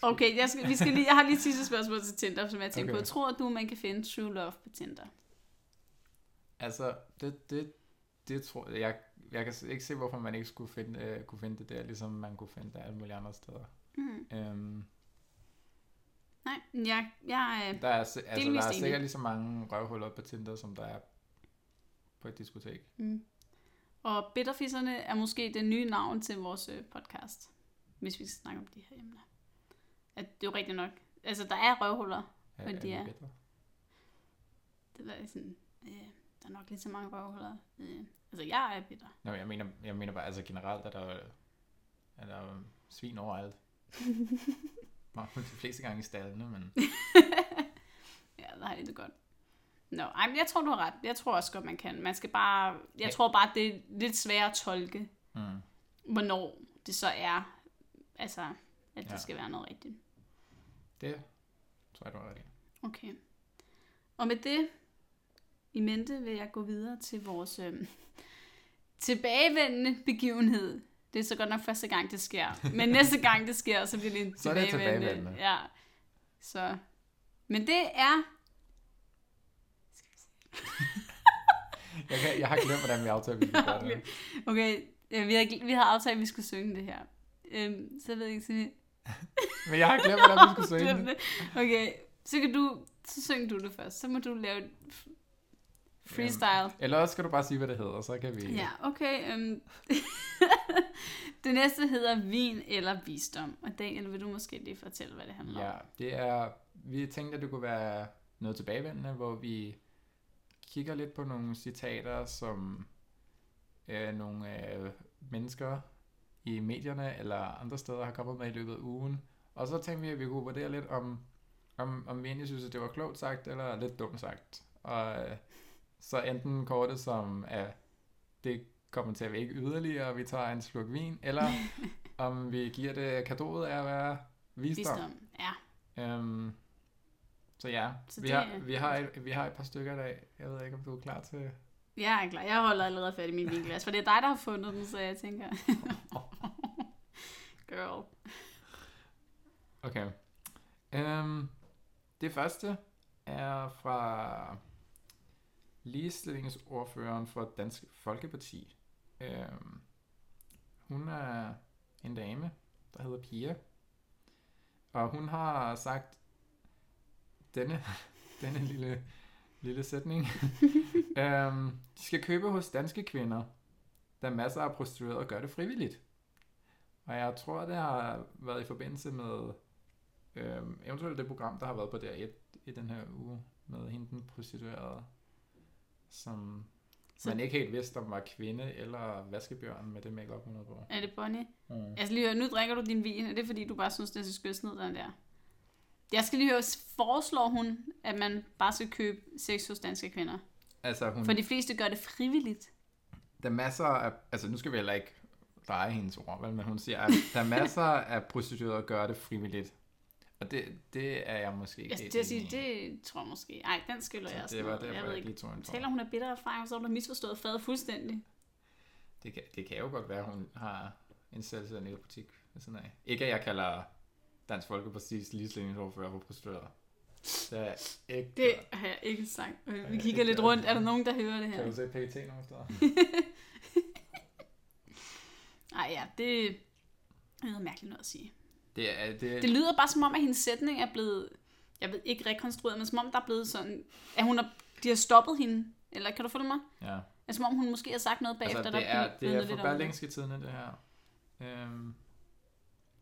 Speaker 1: okay, jeg, skal, vi skal lige, jeg har lige et sidste spørgsmål til Tinder, som jeg tænkte okay.
Speaker 2: Okay.
Speaker 1: på. Tror du, man kan finde true love på Tinder?
Speaker 2: Altså, det, det, det tror jeg, jeg, jeg kan ikke se, hvorfor man ikke skulle finde, øh, kunne finde det der, ligesom man kunne finde det alle mulige andre steder.
Speaker 1: Mm.
Speaker 2: Øhm,
Speaker 1: Nej, jeg, jeg, øh,
Speaker 2: Der er, si- altså,
Speaker 1: Delvist
Speaker 2: der er
Speaker 1: enig.
Speaker 2: sikkert lige så mange røvhuller på Tinder, som der er på et diskotek.
Speaker 1: Mm. Og bitterfisserne er måske det nye navn til vores øh, podcast, hvis vi skal snakke om de her emner. At det er jo rigtigt nok. Altså, der er røvhuller.
Speaker 2: Er-
Speaker 1: Men
Speaker 2: er
Speaker 1: de
Speaker 2: vi
Speaker 1: er-
Speaker 2: bedre?
Speaker 1: Det er sådan, øh, der er nok lidt så mange røvhuller. Øh, altså, jeg er bitter.
Speaker 2: Nå, jeg mener, jeg mener bare, altså generelt er der, er der jo svin overalt. Mange de fleste gange i stallene, men
Speaker 1: ja, der har jeg det godt. Nå, ej, men jeg tror, du har ret. Jeg tror også godt, man kan. Man skal bare... Jeg
Speaker 2: Ja.
Speaker 1: tror bare, det er lidt sværere at tolke,
Speaker 2: mm,
Speaker 1: hvornår det så er, altså, at det ja.
Speaker 2: Ja.
Speaker 1: skal være noget rigtigt.
Speaker 2: det tror jeg, du har ret i.
Speaker 1: Okay. Og med det i mente vil jeg gå videre til vores øh, tilbagevendende begivenhed. Det er så godt nok første gang, det sker. Men næste gang, det sker, så bliver det en
Speaker 2: Så er det
Speaker 1: tilbagevendende.
Speaker 2: tilbagevendende.
Speaker 1: Ja. Så. Men det er...
Speaker 2: Jeg, kan, jeg har glemt, hvordan vi aftalte, at vi skulle gøre
Speaker 1: Okay,
Speaker 2: det.
Speaker 1: okay. øh, vi, har, vi har aftalt, at vi skulle synge det her. Øhm, så ved jeg ikke, så...
Speaker 2: Men jeg har glemt, hvordan vi skulle synge
Speaker 1: Glem
Speaker 2: det.
Speaker 1: det. Okay, så kan du... Så synger du det først. Så må du lave et f- freestyle.
Speaker 2: Eller også skal du bare sige, hvad det hedder, så kan vi...
Speaker 1: Ja, okay. Øhm. det næste hedder vin eller visdom. Og Daniel, vil du måske lige fortælle, hvad det handler om?
Speaker 2: Ja, det er, vi tænkte, at det kunne være noget tilbagevendende, hvor vi kigger lidt på nogle citater, som øh, nogle øh, mennesker i medierne eller andre steder har kommet med i løbet af ugen. Og så tænkte vi, at vi kunne vurdere lidt, om, om, om vi egentlig synes, at det var klogt sagt, eller lidt dumt sagt. Og øh, så enten kort det som, at det kommenterer vi ikke yderligere, og vi tager en slurk vin, eller om vi giver det kadoet af at være visdom.
Speaker 1: Visdom, ja.
Speaker 2: Øhm, så ja,
Speaker 1: Så
Speaker 2: så vi,
Speaker 1: det
Speaker 2: har,
Speaker 1: er-
Speaker 2: vi, har et, vi har et par stykker i dag. Jeg ved ikke, om du er klar til...
Speaker 1: Jeg er klar. Jeg holder allerede fat i min vinglas, for det er dig, der har fundet den, så jeg tænker... Girl.
Speaker 2: Okay. Øhm, det første er fra ligestillingsordføreren for Dansk Folkeparti. Øhm, hun er en dame, der hedder Pia. Og hun har sagt denne, denne lille, lille sætning. øhm, de skal købe hos danske kvinder, der masser af prostituerede gør det frivilligt. Og jeg tror, det har været i forbindelse med øhm, eventuelt det program, der har været på DR1 i den her uge, med hende den prostituerede, som
Speaker 1: Så-
Speaker 2: så... man ikke helt vidste, om var kvinde eller vaskebjørn med det makeup hun havde på.
Speaker 1: Er det Bonnie?
Speaker 2: Mm.
Speaker 1: Altså lige hør, nu drikker du din vin, er det fordi, du bare synes, det er så skønt ned, den der? Jeg skal lige høre, foreslår hun, at man bare skal købe sex hos danske kvinder?
Speaker 2: Altså, hun,
Speaker 1: For de fleste gør det frivilligt.
Speaker 2: der er masser af, altså nu skal vi heller ikke dreje hendes ord, vel, men hun siger, at der er masser af prostituerede, der gør det frivilligt. Og det, det er jeg måske ikke
Speaker 1: Jeg skulle
Speaker 2: helt
Speaker 1: til at sige,
Speaker 2: enig i.
Speaker 1: Altså, det tror jeg måske. Ej, den skylder jeg
Speaker 2: Så
Speaker 1: også.
Speaker 2: det var
Speaker 1: noget.
Speaker 2: derfor,
Speaker 1: jeg
Speaker 2: jeg,
Speaker 1: ved
Speaker 2: ikke
Speaker 1: ikke.
Speaker 2: lige tog en
Speaker 1: Taler
Speaker 2: tår.
Speaker 1: hun af bitter erfaring, så har hun da misforstået fadet fuldstændig.
Speaker 2: Det kan, det kan jo godt være, hun har en selvstændig lille butik. ved Sådan af. Ikke at jeg kalder Dansk Folkeparti's ligestillingsordfører for prostituerede. Det er ikke...
Speaker 1: Det har jeg ikke sagt. Øh, Vi
Speaker 2: Ja,
Speaker 1: kigger
Speaker 2: det
Speaker 1: lidt
Speaker 2: gør
Speaker 1: rundt.
Speaker 2: jeg.
Speaker 1: Er der nogen, der hører det
Speaker 2: Kan du
Speaker 1: her?
Speaker 2: se PET nogle steder?
Speaker 1: Ej, ja, det det er noget mærkeligt noget at sige.
Speaker 2: Det er... Det,
Speaker 1: Det lyder bare som om, at hendes sætning er blevet, jeg ved ikke rekonstrueret, men som om der er blevet sådan, at hun er, de har stoppet hende. Eller kan du følge mig?
Speaker 2: ja.
Speaker 1: Altså, som om hun måske har sagt noget bagefter,
Speaker 2: altså,
Speaker 1: der
Speaker 2: det
Speaker 1: blevet
Speaker 2: er, det er
Speaker 1: vidnet
Speaker 2: for
Speaker 1: lidt om
Speaker 2: berlingske tiderne, det her. Øhm,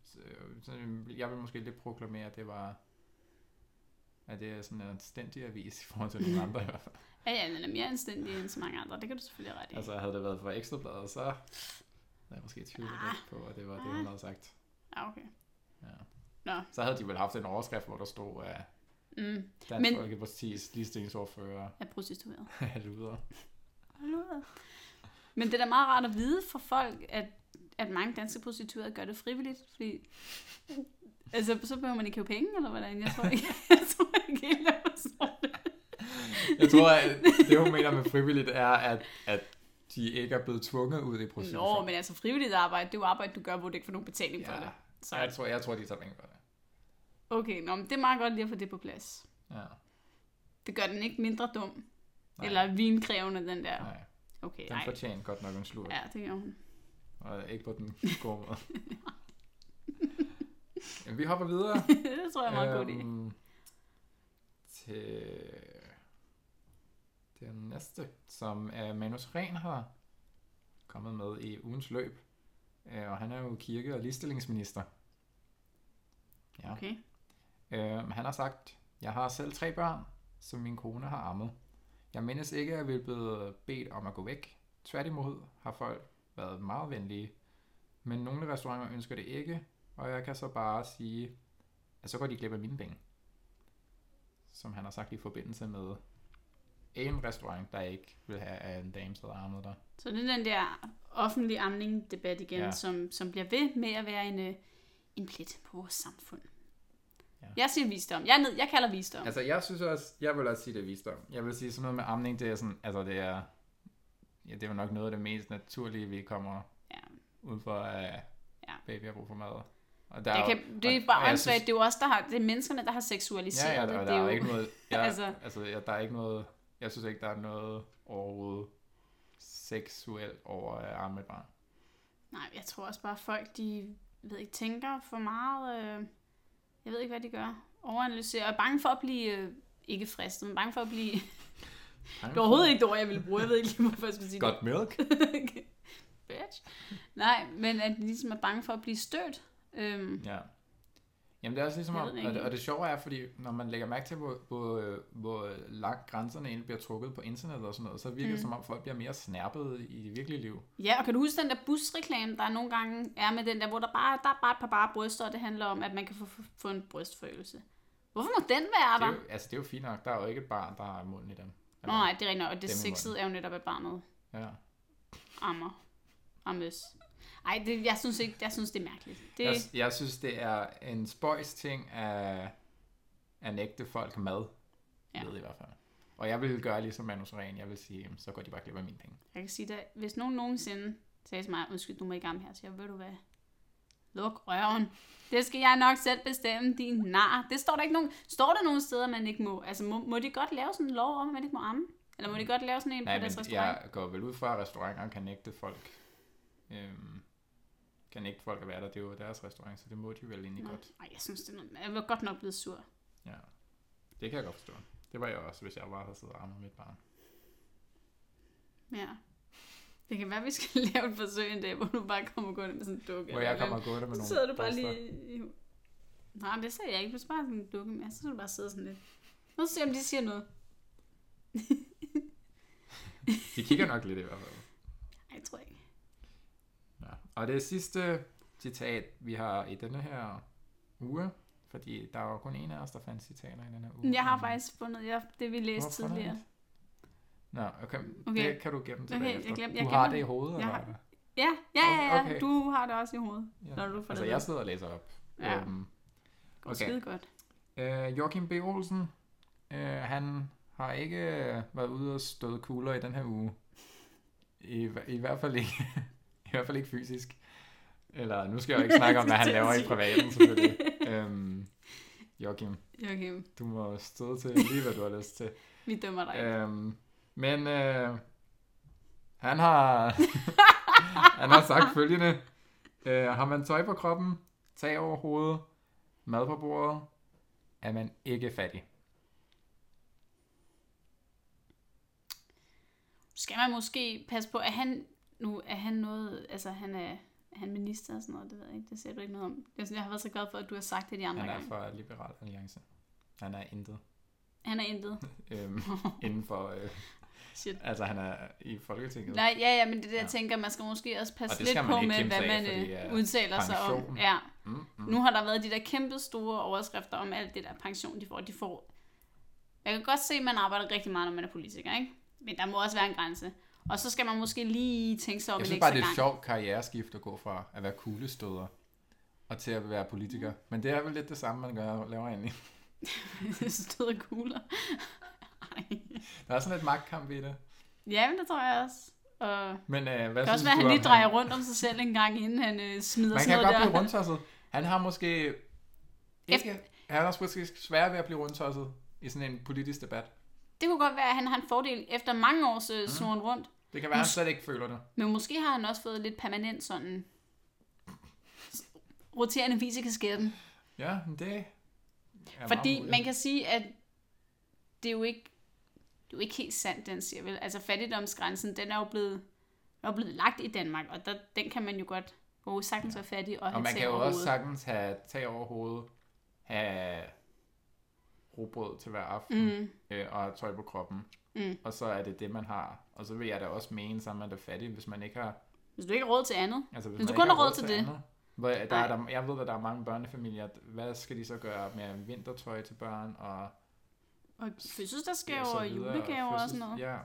Speaker 2: så, så, jeg vil måske lidt proklamere, at det var at det er sådan en stændig avis i forhold til nogle andre i hvert fald.
Speaker 1: Ja, ja, den er mere anstændig end så mange andre. Det kan du selvfølgelig have ret i. Altså,
Speaker 2: Altså havde det været for ekstrabladet, så havde jeg måske tvivlet
Speaker 1: Ah.
Speaker 2: lidt på, at det var det, hun havde sagt.
Speaker 1: ja, Ah, okay.
Speaker 2: Så havde de vel haft en overskrift, hvor der stod, at
Speaker 1: Mm,
Speaker 2: Dansk
Speaker 1: Men-
Speaker 2: Men... Folkeparti's ligestillingsordfører
Speaker 1: jeg er prostitueret.
Speaker 2: er luder.
Speaker 1: Men det er da meget rart at vide for folk, at, at mange danske prostituerede gør det frivilligt, fordi altså, så behøver man ikke have penge, eller hvordan? Jeg tror ikke, jeg tror ikke helt, jeg forstår det.
Speaker 2: Jeg tror, at det, hun mener med frivilligt, er, at, at de ikke er blevet tvunget ud i processen.
Speaker 1: Nå, men altså frivilligt arbejde, det er jo arbejde, du gør, hvor du ikke får nogen betaling for
Speaker 2: ja,
Speaker 1: det.
Speaker 2: så jeg
Speaker 1: Så,
Speaker 2: tror, jeg tror, de tager penge for det.
Speaker 1: okay, nå, men det er meget godt lige at få det på plads.
Speaker 2: Ja.
Speaker 1: Det gør den ikke mindre dum,
Speaker 2: Nej.
Speaker 1: eller vinkrævende, den der.
Speaker 2: Nej,
Speaker 1: Okay,
Speaker 2: den
Speaker 1: nej.
Speaker 2: fortjener godt nok en slur. Ja.
Speaker 1: Ja, det gør hun.
Speaker 2: Og ikke på den gode måde. Jamen, vi hopper videre.
Speaker 1: det tror jeg er meget øhm, godt i.
Speaker 2: øhm, Til den næste, som er Manus Ren har kommet med i ugens løb. Øh, Og han er jo kirke- og ligestillingsminister. Ja.
Speaker 1: Okay.
Speaker 2: Øh, han har sagt, jeg har selv tre børn, som min kone har ammet. Jeg mindes ikke, at vi er blevet bedt om at gå væk. Tværtimod har folk været meget venlige. Men nogle restauranter ønsker det ikke, og jeg kan så bare sige, at så går de glip af mine penge. Som han har sagt i forbindelse med en restaurant, der ikke vil have, at en dame sidder armet der.
Speaker 1: Så det er den der offentlige amning-debat igen, ja.
Speaker 2: Ja.
Speaker 1: som, som bliver ved med at være en, øh, en plet på vores samfund. Ja.
Speaker 2: Ja.
Speaker 1: Jeg siger visdom. Jeg, er ned, jeg kalder visdom. Altså,
Speaker 2: Altså, jeg synes også, jeg vil også sige, det er visdom. Jeg vil sige, sådan noget med amning, det er sådan, altså det er, ja, det er jo nok noget af det mest naturlige, vi kommer
Speaker 1: Ja.
Speaker 2: ud for, at
Speaker 1: Ja.
Speaker 2: baby har brug for mad. Og der
Speaker 1: jeg
Speaker 2: er jo-
Speaker 1: kan, det er
Speaker 2: og- og
Speaker 1: bare
Speaker 2: jeg
Speaker 1: åndssvagt.
Speaker 2: synes-
Speaker 1: Det er jo os, der har, det er menneskerne, der har seksualiseret
Speaker 2: Ja, ja, der,
Speaker 1: det.
Speaker 2: der
Speaker 1: det
Speaker 2: er
Speaker 1: jo,
Speaker 2: jo ikke noget, jeg,
Speaker 1: altså-
Speaker 2: altså, altså ja, der er ikke noget, jeg synes ikke, der er noget overhovedet seksuelt over at arme et barn.
Speaker 1: Nej, jeg tror også bare, at folk, de jeg ved ikke, tænker for meget. Øh, jeg ved ikke, hvad de gør. Overanalyserer. Og er bange for at blive, øh, ikke fristet, men bange for at blive... Det var overhovedet ikke det ord, jeg ville bruge. Jeg ved ikke lige, hvorfor jeg skulle sige det.
Speaker 2: Got milk?
Speaker 1: Bitch. Nej, men at de ligesom er bange for at blive stødt. Øhm,
Speaker 2: Ja. Jamen det er også ligesom,
Speaker 1: Jeg
Speaker 2: om,
Speaker 1: ved det ikke
Speaker 2: og, det,
Speaker 1: helt.
Speaker 2: og det sjove er, fordi når man lægger mærke til, hvor, hvor, øh, hvor langt grænserne egentlig bliver trukket på internettet og sådan noget, så virker det
Speaker 1: Mm.
Speaker 2: som om, folk bliver mere snærpede i det virkelige liv.
Speaker 1: ja, og kan du huske den der busreklame, der nogle gange er med den der, hvor der bare, der er bare et par bare bryster, og det handler om, at man kan få, få en brystforøgelse. Hvorfor må den være
Speaker 2: Det
Speaker 1: der?
Speaker 2: er
Speaker 1: Det
Speaker 2: jo, altså det er jo fint nok, der er jo ikke et barn, der har munden i dem.
Speaker 1: Nå, nej, det er rigtigt nok, og det
Speaker 2: Dem i
Speaker 1: sexede er jo netop, at barnet
Speaker 2: Ja.
Speaker 1: ammer. Ammes. Ej, det, jeg synes ikke, jeg synes, det er mærkeligt. Det,
Speaker 2: Jeg, jeg synes, det er en spøjs ting at, at nægte folk mad.
Speaker 1: Ja.
Speaker 2: Ja. Ved i hvert fald. Og jeg vil gøre ligesom Manus Ren. Jeg vil sige, jamen, så går de bare glip af mine penge.
Speaker 1: jeg kan sige dig, hvis nogen nogensinde sagde til mig, undskyld, du må ikke amme her, så jeg, ved du hvad, luk røven. Det skal jeg nok selv bestemme, din nar. Det står der ikke nogen, står der nogen steder, man ikke må? Altså, må, må de godt lave sådan en lov om, at man ikke må amme? Eller må de godt lave sådan en
Speaker 2: Nej,
Speaker 1: på
Speaker 2: men
Speaker 1: deres restaurant?
Speaker 2: jeg går vel ud fra, at restauranter kan nægte folk. Øhm, kan nægte folk at være der. Det er jo deres restaurant, så det må de vel egentlig
Speaker 1: Nå,
Speaker 2: godt.
Speaker 1: Ej, jeg synes, det er noget, jeg var godt nok blevet sur.
Speaker 2: Ja. Det kan jeg godt forstå. Det var jeg også, hvis jeg bare havde siddet og armet mit barn.
Speaker 1: Ja. Det kan være, vi skal lave et forsøg en dag, hvor du bare kommer gående med sådan en dukke.
Speaker 2: Hvor
Speaker 1: eller
Speaker 2: jeg kommer
Speaker 1: hvem.
Speaker 2: og går der med
Speaker 1: Så
Speaker 2: nogle
Speaker 1: sidder du bare
Speaker 2: bryster.
Speaker 1: lige... i- Nej, men det sagde jeg ikke. Du skal bare have sådan en dukke med. Så skal du bare sidde sådan lidt. Nu ser jeg, om de siger noget.
Speaker 2: De kigger nok lidt i hvert fald.
Speaker 1: Ej, jeg tror ikke.
Speaker 2: Ja. Og det sidste citat, vi har i denne her uge, Fordi der var kun en af os, der fandt citater i den her uge.
Speaker 1: Men Jeg har
Speaker 2: Men
Speaker 1: faktisk fundet ja, det, vi læste
Speaker 2: hvorfor er der
Speaker 1: tidligere.
Speaker 2: ikke? Nå, okay. okay.
Speaker 1: Okay.
Speaker 2: Det kan du gemme tilbage
Speaker 1: Okay,
Speaker 2: efter.
Speaker 1: jeg glem- jeg
Speaker 2: du har
Speaker 1: gemmer-
Speaker 2: det i hovedet,
Speaker 1: jeg
Speaker 2: eller?
Speaker 1: har- Ja, ja, ja, ja.
Speaker 2: Okay.
Speaker 1: Du har det også i hovedet.
Speaker 2: Ja.
Speaker 1: Når du får
Speaker 2: altså,
Speaker 1: det
Speaker 2: jeg
Speaker 1: med.
Speaker 2: sidder og læser op.
Speaker 1: Ja.
Speaker 2: Øhm,
Speaker 1: Går
Speaker 2: Okay.
Speaker 1: okay. skide godt.
Speaker 2: øh, Joachim B. Olsen, øh, han har ikke øh, været ude og støde kugler i den her uge. I, hver- i hvert fald ikke, i hvert fald ikke fysisk. Eller nu skal jeg jo ikke snakke om, hvad han laver i privaten, selvfølgelig. øhm, Joachim,
Speaker 1: Okay,
Speaker 2: du må støde til lige, hvad du har lyst til.
Speaker 1: vi dømmer dig ikke.
Speaker 2: Øhm, men øh, han har han har sagt følgende. Øh, har man tøj på kroppen, tag over hovedet, mad på bordet, er man ikke fattig.
Speaker 1: Skal man måske passe på, at han... Nu er han noget... Altså, han er, er han minister og sådan noget, det ved jeg ikke. Det ser du ikke noget om. Jeg, synes, jeg har været så glad for, at du har sagt det de andre
Speaker 2: Han er
Speaker 1: gange.
Speaker 2: fra Liberal Alliance. Han er intet
Speaker 1: Han er intet.
Speaker 2: øhm, inden for... Øh,
Speaker 1: Shit.
Speaker 2: altså, han er i Folketinget.
Speaker 1: Nej, ja, ja, men det der,
Speaker 2: Ja.
Speaker 1: jeg tænker, man skal måske også passe
Speaker 2: Og det
Speaker 1: lidt
Speaker 2: skal man
Speaker 1: på
Speaker 2: ikke
Speaker 1: med,
Speaker 2: kimse
Speaker 1: hvad
Speaker 2: af,
Speaker 1: man
Speaker 2: fordi,
Speaker 1: øh,
Speaker 2: øh,
Speaker 1: udtaler sig om.
Speaker 2: pension.
Speaker 1: Ja.
Speaker 2: Mm, mm.
Speaker 1: Nu har der været de der kæmpe store overskrifter om alt det der pension, de får. De får... Jeg kan godt se, at man arbejder rigtig meget, når man er politiker, ikke? Men der må også være en grænse. Og så skal man måske lige tænke sig om
Speaker 2: Jeg
Speaker 1: en
Speaker 2: synes
Speaker 1: ekstra
Speaker 2: bare, det er
Speaker 1: gang.
Speaker 2: et sjovt karriereskift at gå fra at være kuglestøder og til at være politiker. Men det er vel lidt det samme, man gør, laver egentlig.
Speaker 1: Stød kugler. Ej.
Speaker 2: Der er sådan lidt magtkamp i det.
Speaker 1: ja, men det tror jeg også. Og
Speaker 2: Men øh, hvad
Speaker 1: det kan også
Speaker 2: synes
Speaker 1: være, at
Speaker 2: du
Speaker 1: han lige
Speaker 2: om
Speaker 1: drejer rundt om sig selv en gang, inden han øh, smider
Speaker 2: Man
Speaker 1: sådan
Speaker 2: kan
Speaker 1: noget
Speaker 2: godt
Speaker 1: der.
Speaker 2: blive rundtosset. Han har måske ikke... Han er også måske svær ved at blive rundtosset i sådan en politisk debat.
Speaker 1: Det kunne godt være, at han har en fordel efter mange års
Speaker 2: Mm.
Speaker 1: øh, snoren rundt.
Speaker 2: Det kan være, at han
Speaker 1: Mås-
Speaker 2: slet ikke føler det.
Speaker 1: Men måske har han også fået lidt permanent sådan s- roterende vis i kasketten.
Speaker 2: Ja, men det er
Speaker 1: Fordi
Speaker 2: meget
Speaker 1: man kan sige, at det er jo ikke, det er jo ikke helt sandt, den siger vel. Altså fattigdomsgrænsen, den er jo blevet, den er jo blevet lagt i Danmark, og der, den kan man jo godt jo, sagtens være fattig og
Speaker 2: Og
Speaker 1: have
Speaker 2: man
Speaker 1: tag
Speaker 2: kan jo
Speaker 1: over
Speaker 2: også
Speaker 1: hovedet.
Speaker 2: sagtens have tag over hovedet, have rugbrød til hver aften
Speaker 1: Mm,
Speaker 2: øh, og have tøj på kroppen.
Speaker 1: Mm.
Speaker 2: Og så er det det, man har. Og så vil jeg da også mene, så er man da fattig, hvis man ikke har...
Speaker 1: hvis du ikke har råd til andet.
Speaker 2: Altså, hvis
Speaker 1: Hvis
Speaker 2: man
Speaker 1: du kun
Speaker 2: ikke
Speaker 1: har råd til det.
Speaker 2: andet. Hvor der er
Speaker 1: Nej.
Speaker 2: der, jeg ved, at der er mange børnefamilier. Hvad skal de så gøre med vintertøj til børn? Og
Speaker 1: Og fødselsdagsgaver
Speaker 2: så
Speaker 1: og
Speaker 2: videre,
Speaker 1: julegaver og sådan
Speaker 2: fødsels-
Speaker 1: noget.
Speaker 2: Ja.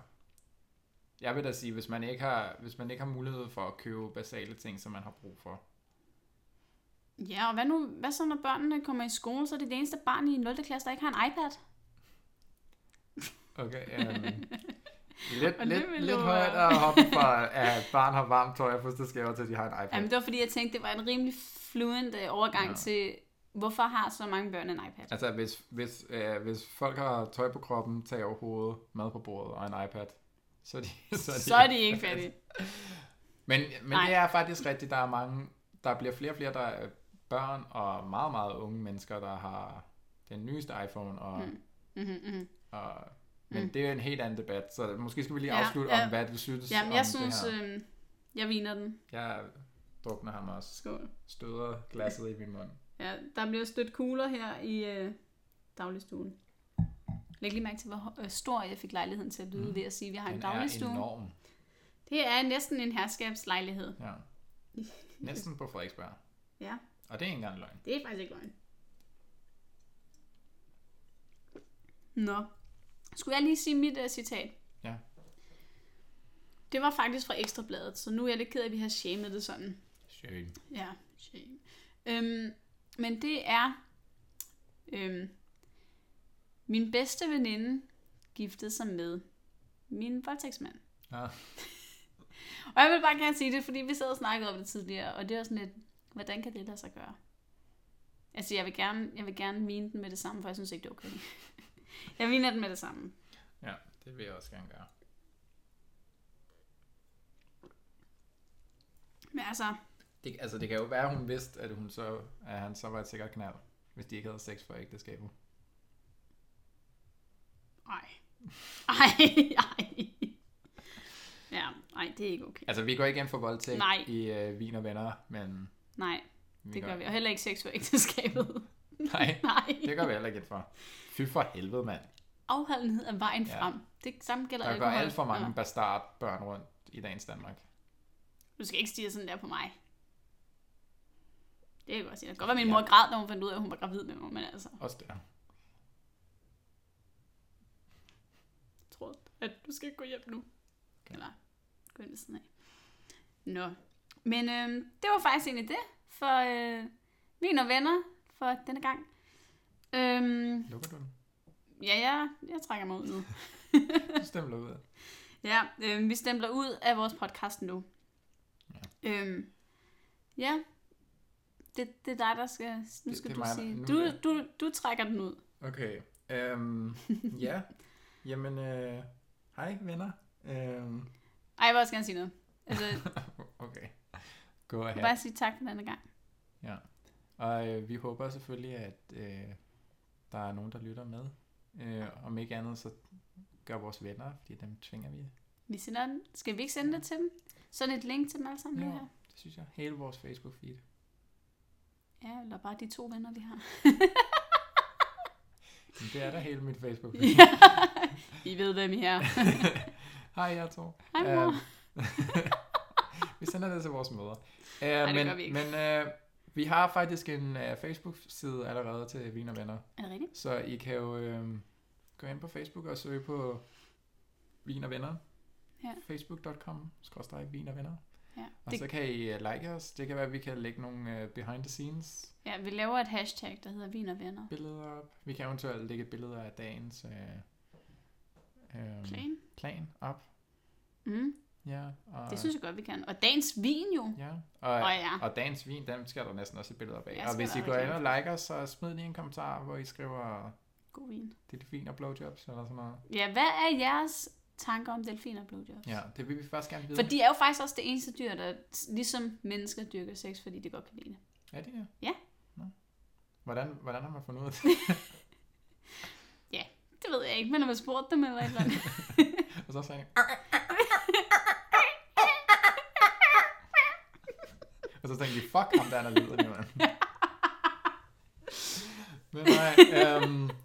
Speaker 2: Jeg vil da sige, hvis man ikke har, hvis man ikke har mulighed for at købe basale ting, som man har brug for.
Speaker 1: Ja, og hvad nu, hvad så når børnene kommer i skole, så er det det eneste barn i 0. klasse, der ikke har en iPad?
Speaker 2: Okay, um, lidt,
Speaker 1: Og det
Speaker 2: lidt,
Speaker 1: ville
Speaker 2: lidt
Speaker 1: jo
Speaker 2: højt
Speaker 1: være-
Speaker 2: at hoppe fra, at barn har varmt tøj og fødselsdagsgaver til, at de har en iPad.
Speaker 1: Jamen, det var fordi, jeg tænkte, det var en rimelig fluent øh, overgang
Speaker 2: Ja.
Speaker 1: ja. til, hvorfor har så mange børn en iPad?
Speaker 2: Altså, hvis, hvis, øh, hvis folk har tøj på kroppen, tag over hovedet, mad på bordet og en iPad, så er de, så er de,
Speaker 1: Så er de ikke fattige.
Speaker 2: Men, men
Speaker 1: Nej.
Speaker 2: det er faktisk rigtigt, der er mange, der bliver flere og flere der er børn og meget, meget unge mennesker, der har den nyeste iPhone. Og, mm.
Speaker 1: Mm-hmm, mm-hmm.
Speaker 2: og, men mm. det er en helt anden debat, så måske skal vi lige
Speaker 1: Ja,
Speaker 2: afslutte
Speaker 1: ja.
Speaker 2: om, hvad du synes
Speaker 1: Jamen,
Speaker 2: om
Speaker 1: jeg synes,
Speaker 2: det her.
Speaker 1: øh, jeg viner den.
Speaker 2: Jeg drukner ham også.
Speaker 1: Skål.
Speaker 2: Støder glasset i min mund.
Speaker 1: Ja, der bliver stødt kugler her i øh, dagligstuen. Læg lige mærke til, hvor ho- øh, stor jeg fik lejligheden til at lyde mm. ved at sige, at vi har en
Speaker 2: Den er
Speaker 1: dagligstue.
Speaker 2: enorm.
Speaker 1: det er næsten en herskabslejlighed.
Speaker 2: Ja. Næsten på Frederiksberg.
Speaker 1: Ja,
Speaker 2: Og det er ikke engang løgn.
Speaker 1: det er faktisk ikke løgn. Nå. Skulle jeg lige sige mit uh, citat?
Speaker 2: Ja.
Speaker 1: Det var faktisk fra Ekstrabladet, så nu er jeg lidt ked af, at vi har shamed det sådan.
Speaker 2: Shame.
Speaker 1: Ja, shame. Øhm, men det er... Øhm, min bedste veninde giftede sig med min voldtægtsmand.
Speaker 2: Ja.
Speaker 1: Og jeg vil bare gerne sige det, fordi vi sad og snakkede om det tidligere, og det var sådan lidt, hvordan kan det lade sig gøre? Altså, jeg vil gerne, jeg vil gerne mine den med det samme, for jeg synes ikke, det er okay. jeg viner den med det samme.
Speaker 2: ja, det vil jeg også gerne gøre.
Speaker 1: Men altså,
Speaker 2: Det, altså, det kan jo være, at hun vidste, at, hun så, at han så var et sikkert knald, hvis de ikke havde sex for ægteskabet.
Speaker 1: ej. Ej, ej. Ja, nej, det er ikke okay.
Speaker 2: Altså, vi går ikke ind for voldtægt
Speaker 1: Nej.
Speaker 2: i øh, Vin og Venner, men...
Speaker 1: Nej.
Speaker 2: Vi
Speaker 1: Det gør vi. Og heller ikke sex for ægteskabet.
Speaker 2: Nej,
Speaker 1: Nej.
Speaker 2: det gør vi heller ikke ind for. Fy for helvede, mand.
Speaker 1: Afholdenhed er vejen
Speaker 2: Ja.
Speaker 1: ja. frem. Det samme gælder
Speaker 2: Der går
Speaker 1: alkohol.
Speaker 2: alt for mange
Speaker 1: Ja.
Speaker 2: bastardbørn rundt i dagens Danmark.
Speaker 1: Du skal ikke stige sådan der på mig. Det Det kan jeg godt sige. Det kan godt være, min mor græd, når hun fandt ud af, at hun var gravid med mig, men altså,
Speaker 2: Også der.
Speaker 1: jeg tror, at du skal gå hjem nu.
Speaker 2: Okay.
Speaker 1: Eller gå ind ved siden af. Nå. Men øh, det var faktisk egentlig det for øh, min og venner for denne gang. Øhm,
Speaker 2: Lukker du den?
Speaker 1: ja, ja, jeg trækker mig ud nu.
Speaker 2: Du stemmer ud af.
Speaker 1: Ja, øh, vi stempler ud af vores podcast nu. Ja. Øhm, ja. Det, det er dig, der skal... Nu
Speaker 2: Det-
Speaker 1: skal
Speaker 2: det er
Speaker 1: du
Speaker 2: mig, der-
Speaker 1: sige...
Speaker 2: nu-
Speaker 1: Du, du, du trækker den ud.
Speaker 2: Okay. Øhm, ja. Jamen, øh, hej venner. Øhm,
Speaker 1: Ej, jeg vil også gerne sige noget. Altså,
Speaker 2: okay. Gå ahead.
Speaker 1: bare sige tak for denne gang.
Speaker 2: Og øh, vi håber selvfølgelig, at øh, der er nogen, der lytter med. Øh, om ikke andet, så gør vores venner, fordi dem tvinger vi.
Speaker 1: Vi sender den. Skal vi ikke sende det til dem? Sådan et link til dem alle sammen lige
Speaker 2: Jo.
Speaker 1: her.
Speaker 2: Det synes jeg. Hele vores Facebook-feed.
Speaker 1: Ja, eller bare de to venner, vi har.
Speaker 2: Men det er der hele mit Facebook-feed.
Speaker 1: ja. I ved, hvem I er.
Speaker 2: Hej, jeg tror.
Speaker 1: Hej, mor.
Speaker 2: Øhm, vi sender det til vores møder. Uh,
Speaker 1: det
Speaker 2: men
Speaker 1: gør vi ikke.
Speaker 2: men uh, vi har faktisk en uh, Facebook-side allerede til Vin og Venner.
Speaker 1: Er det rigtigt?
Speaker 2: Så I kan jo øh, gå ind på Facebook og søge på Vin og Venner.
Speaker 1: Ja.
Speaker 2: Facebook.com, skråstreg Vin og Venner.
Speaker 1: Ja.
Speaker 2: Og det...
Speaker 1: Det,
Speaker 2: så kan I øh, like os. Det kan være, at vi kan lægge nogle øh, behind the scenes
Speaker 1: ja, vi laver et hashtag, der hedder Vin og Venner.
Speaker 2: billeder op. Vi kan eventuelt lægge billeder af dagens øh, øh,
Speaker 1: Plan.
Speaker 2: plan op.
Speaker 1: Mm,
Speaker 2: Ja, og,
Speaker 1: det synes jeg godt, vi kan. Og dagens vin jo.
Speaker 2: ja, og,
Speaker 1: Åh ja.
Speaker 2: og dagens vin, den skal der næsten også et billede op af.
Speaker 1: Ja,
Speaker 2: og
Speaker 1: skal
Speaker 2: hvis
Speaker 1: der
Speaker 2: I går ind
Speaker 1: reklame
Speaker 2: og liker os, så smid lige en kommentar, hvor I skriver
Speaker 1: God vin.
Speaker 2: delfin og blowjobs eller sådan noget.
Speaker 1: Ja, hvad er jeres tanker om delfiner og blowjobs?
Speaker 2: Ja, det vil vi faktisk gerne vide.
Speaker 1: For de er jo faktisk også det eneste dyr, der ligesom mennesker dyrker sex, fordi de godt kan lide det.
Speaker 2: Er det det?
Speaker 1: Ja.
Speaker 2: Nå. Hvordan, hvordan har man fundet ud af det?
Speaker 1: Det ved jeg ikke, men når man spurgte dem eller et eller andet.
Speaker 2: Og så sagde jeg... Og så tænkte de, fuck ham der, der lyder det, mand. Men nej, øhm, ja,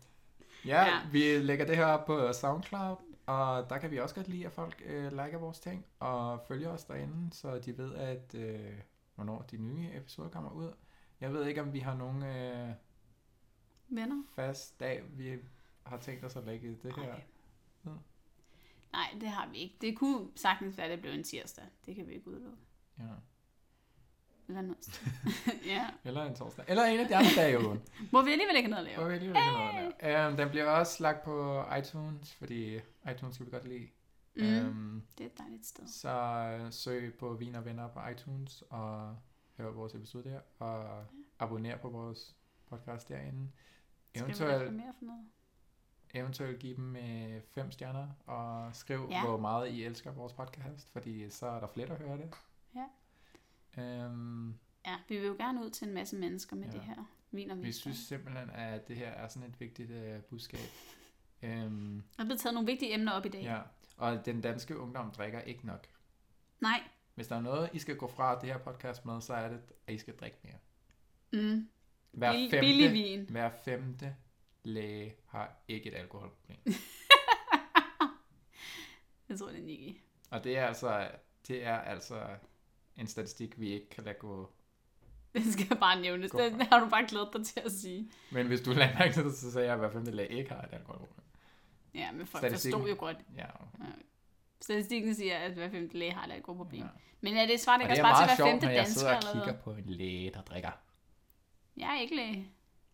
Speaker 1: Ja.
Speaker 2: ja, vi lægger det her op på SoundCloud, og der kan vi også godt lide, at folk øh, liker vores ting og følger os derinde, så de ved, at øh, hvornår de nye episoder kommer ud. Jeg ved ikke, om vi har nogen øh,
Speaker 1: Venner?
Speaker 2: fast dag, vi har tænkt os at lægge det her.
Speaker 1: Ej.
Speaker 2: Ja.
Speaker 1: Nej, det har vi ikke. Det kunne sagtens være, at det blev en tirsdag. Det kan vi ikke udelukke.
Speaker 2: Ja.
Speaker 1: Eller en onsdag. ja.
Speaker 2: Eller en torsdag. Eller en af de andre dage i ugen.
Speaker 1: Hvor vi alligevel ikke have noget at
Speaker 2: Hvor
Speaker 1: lave.
Speaker 2: vi alligevel kan nå at lave. Øhm, den bliver også lagt på iTunes, fordi iTunes kan vi godt lide.
Speaker 1: Mm,
Speaker 2: Øhm,
Speaker 1: det er et dejligt sted.
Speaker 2: så øh, søg på Vin og Venner på iTunes, og hør vores episode der, og abonner på vores podcast derinde.
Speaker 1: Skal vi
Speaker 2: Eventuelt,
Speaker 1: reklamere for noget?
Speaker 2: eventuelt give dem øh, fem stjerner, og skriv,
Speaker 1: Ja.
Speaker 2: ja. hvor meget I elsker vores podcast, fordi så er der flere, der hører det.
Speaker 1: Ja.
Speaker 2: Øhm,
Speaker 1: Ja, vi vil jo gerne ud til en masse mennesker med
Speaker 2: Ja.
Speaker 1: det her vin og
Speaker 2: vi
Speaker 1: vin.
Speaker 2: synes simpelthen, at det her er sådan et vigtigt øh, budskab. Øhm,
Speaker 1: Der er blevet taget nogle vigtige emner op i dag.
Speaker 2: Ja, og den danske ungdom drikker ikke nok.
Speaker 1: Nej,
Speaker 2: Hvis der er noget, I skal gå fra det her podcast med, så er det, at I skal drikke mere.
Speaker 1: mm.
Speaker 2: Hver
Speaker 1: Bill-
Speaker 2: femte,
Speaker 1: billig vin.
Speaker 2: hver femte læge har ikke et alkoholproblem.
Speaker 1: Jeg tror, det er Nicky.
Speaker 2: og det er altså, det er altså en statistik, vi ikke kan lade gå.
Speaker 1: Det skal bare nævnes.
Speaker 2: Godt.
Speaker 1: Det, det har du bare glædet dig til at sige.
Speaker 2: Men hvis du lader mærke til det, så sagde jeg, at hver femte læge ikke har et alkoholproblem.
Speaker 1: Ja, men folk
Speaker 2: Statistikken.
Speaker 1: forstod jo godt.
Speaker 2: Ja, okay.
Speaker 1: Statistikken siger, at hver femte læge har et alkoholproblem.
Speaker 2: ja.
Speaker 1: Ja. Men er det svaret
Speaker 2: Og
Speaker 1: ikke
Speaker 2: det
Speaker 1: også
Speaker 2: er
Speaker 1: bare til
Speaker 2: meget
Speaker 1: hver
Speaker 2: sjovt,
Speaker 1: femte
Speaker 2: når jeg
Speaker 1: dansker?
Speaker 2: sidder og
Speaker 1: Eller hvad?
Speaker 2: kigger på en læge, der drikker.
Speaker 1: Jeg er ikke læge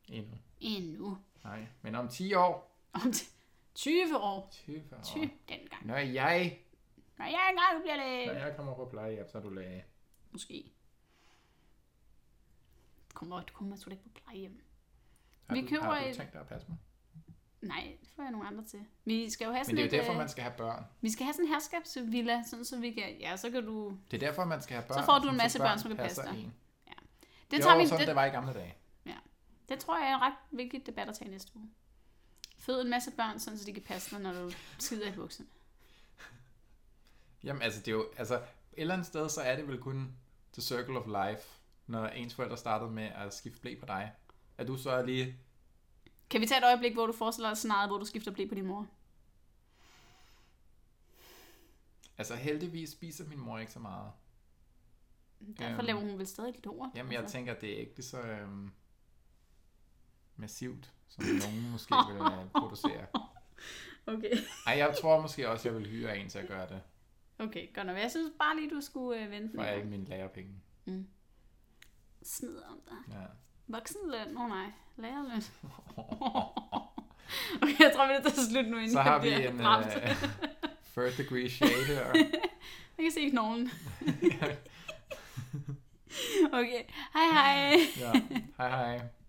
Speaker 2: Endnu.
Speaker 1: endnu.
Speaker 2: Nej, men om 10 år.
Speaker 1: Om t- 20 år.
Speaker 2: 20 år.
Speaker 1: 20 dengang.
Speaker 2: Når jeg,
Speaker 1: Når jeg engang bliver
Speaker 2: når
Speaker 1: læge.
Speaker 2: jeg kommer på plejehjem, så er du læge.
Speaker 1: Måske. Du kommer, du kommer slet ikke på plejehjem.
Speaker 2: Har
Speaker 1: Vi
Speaker 2: du,
Speaker 1: køber
Speaker 2: har du
Speaker 1: et-
Speaker 2: tænkt dig at passe mig?
Speaker 1: Nej, det får jeg nogle andre til. Vi skal jo have
Speaker 2: Men
Speaker 1: sådan
Speaker 2: det er
Speaker 1: et,
Speaker 2: jo derfor,
Speaker 1: øh,
Speaker 2: man skal have børn.
Speaker 1: Vi skal have sådan en herskabsvilla, sådan så vi kan... Ja, så kan du...
Speaker 2: Det er derfor, man skal have børn.
Speaker 1: får du en
Speaker 2: sådan
Speaker 1: masse børn, som kan
Speaker 2: passer
Speaker 1: passe dig.
Speaker 2: en.
Speaker 1: Det,
Speaker 2: jo,
Speaker 1: tager vi,
Speaker 2: sådan
Speaker 1: det,
Speaker 2: det... det var i gamle dage.
Speaker 1: Det tror jeg er en ret vigtig debat at tage næste uge. Fød en masse børn, sådan så de kan passe dig, når du skider i bukserne.
Speaker 2: Jamen, altså, det er jo, altså, et eller andet sted, så er det vel kun the circle of life, når ens forældre startede med at skifte blæ på dig. Er du så lige...
Speaker 1: Kan vi tage et øjeblik, hvor du forestiller dig scenariet, hvor du skifter blæ på din mor?
Speaker 2: Altså, heldigvis spiser min mor ikke så meget.
Speaker 1: Derfor
Speaker 2: Øhm.
Speaker 1: laver hun vel stadig lort.
Speaker 2: Jamen, jeg
Speaker 1: altså.
Speaker 2: tænker, det er ikke lige så øhm, massivt, som nogen måske vil øh, producere.
Speaker 1: Okay.
Speaker 2: Ej, jeg tror måske også, jeg vil hyre en til at gøre det,
Speaker 1: Okay, godt nok. Jeg synes bare lige, du skulle øh, vente
Speaker 2: for
Speaker 1: med.
Speaker 2: alle mine lærepenge.
Speaker 1: Snid om dig.
Speaker 2: Ja.
Speaker 1: Voksenløn? Åh oh, nej, lærerløn. okay, jeg tror, vi er nødt til at slutte nu, inden
Speaker 2: Så har
Speaker 1: jeg
Speaker 2: vi
Speaker 1: bliver
Speaker 2: en
Speaker 1: ramt.
Speaker 2: øh, third degree shade her.
Speaker 1: Jeg kan se knoglen. Okay, hej hej.
Speaker 2: ja. Hej hej.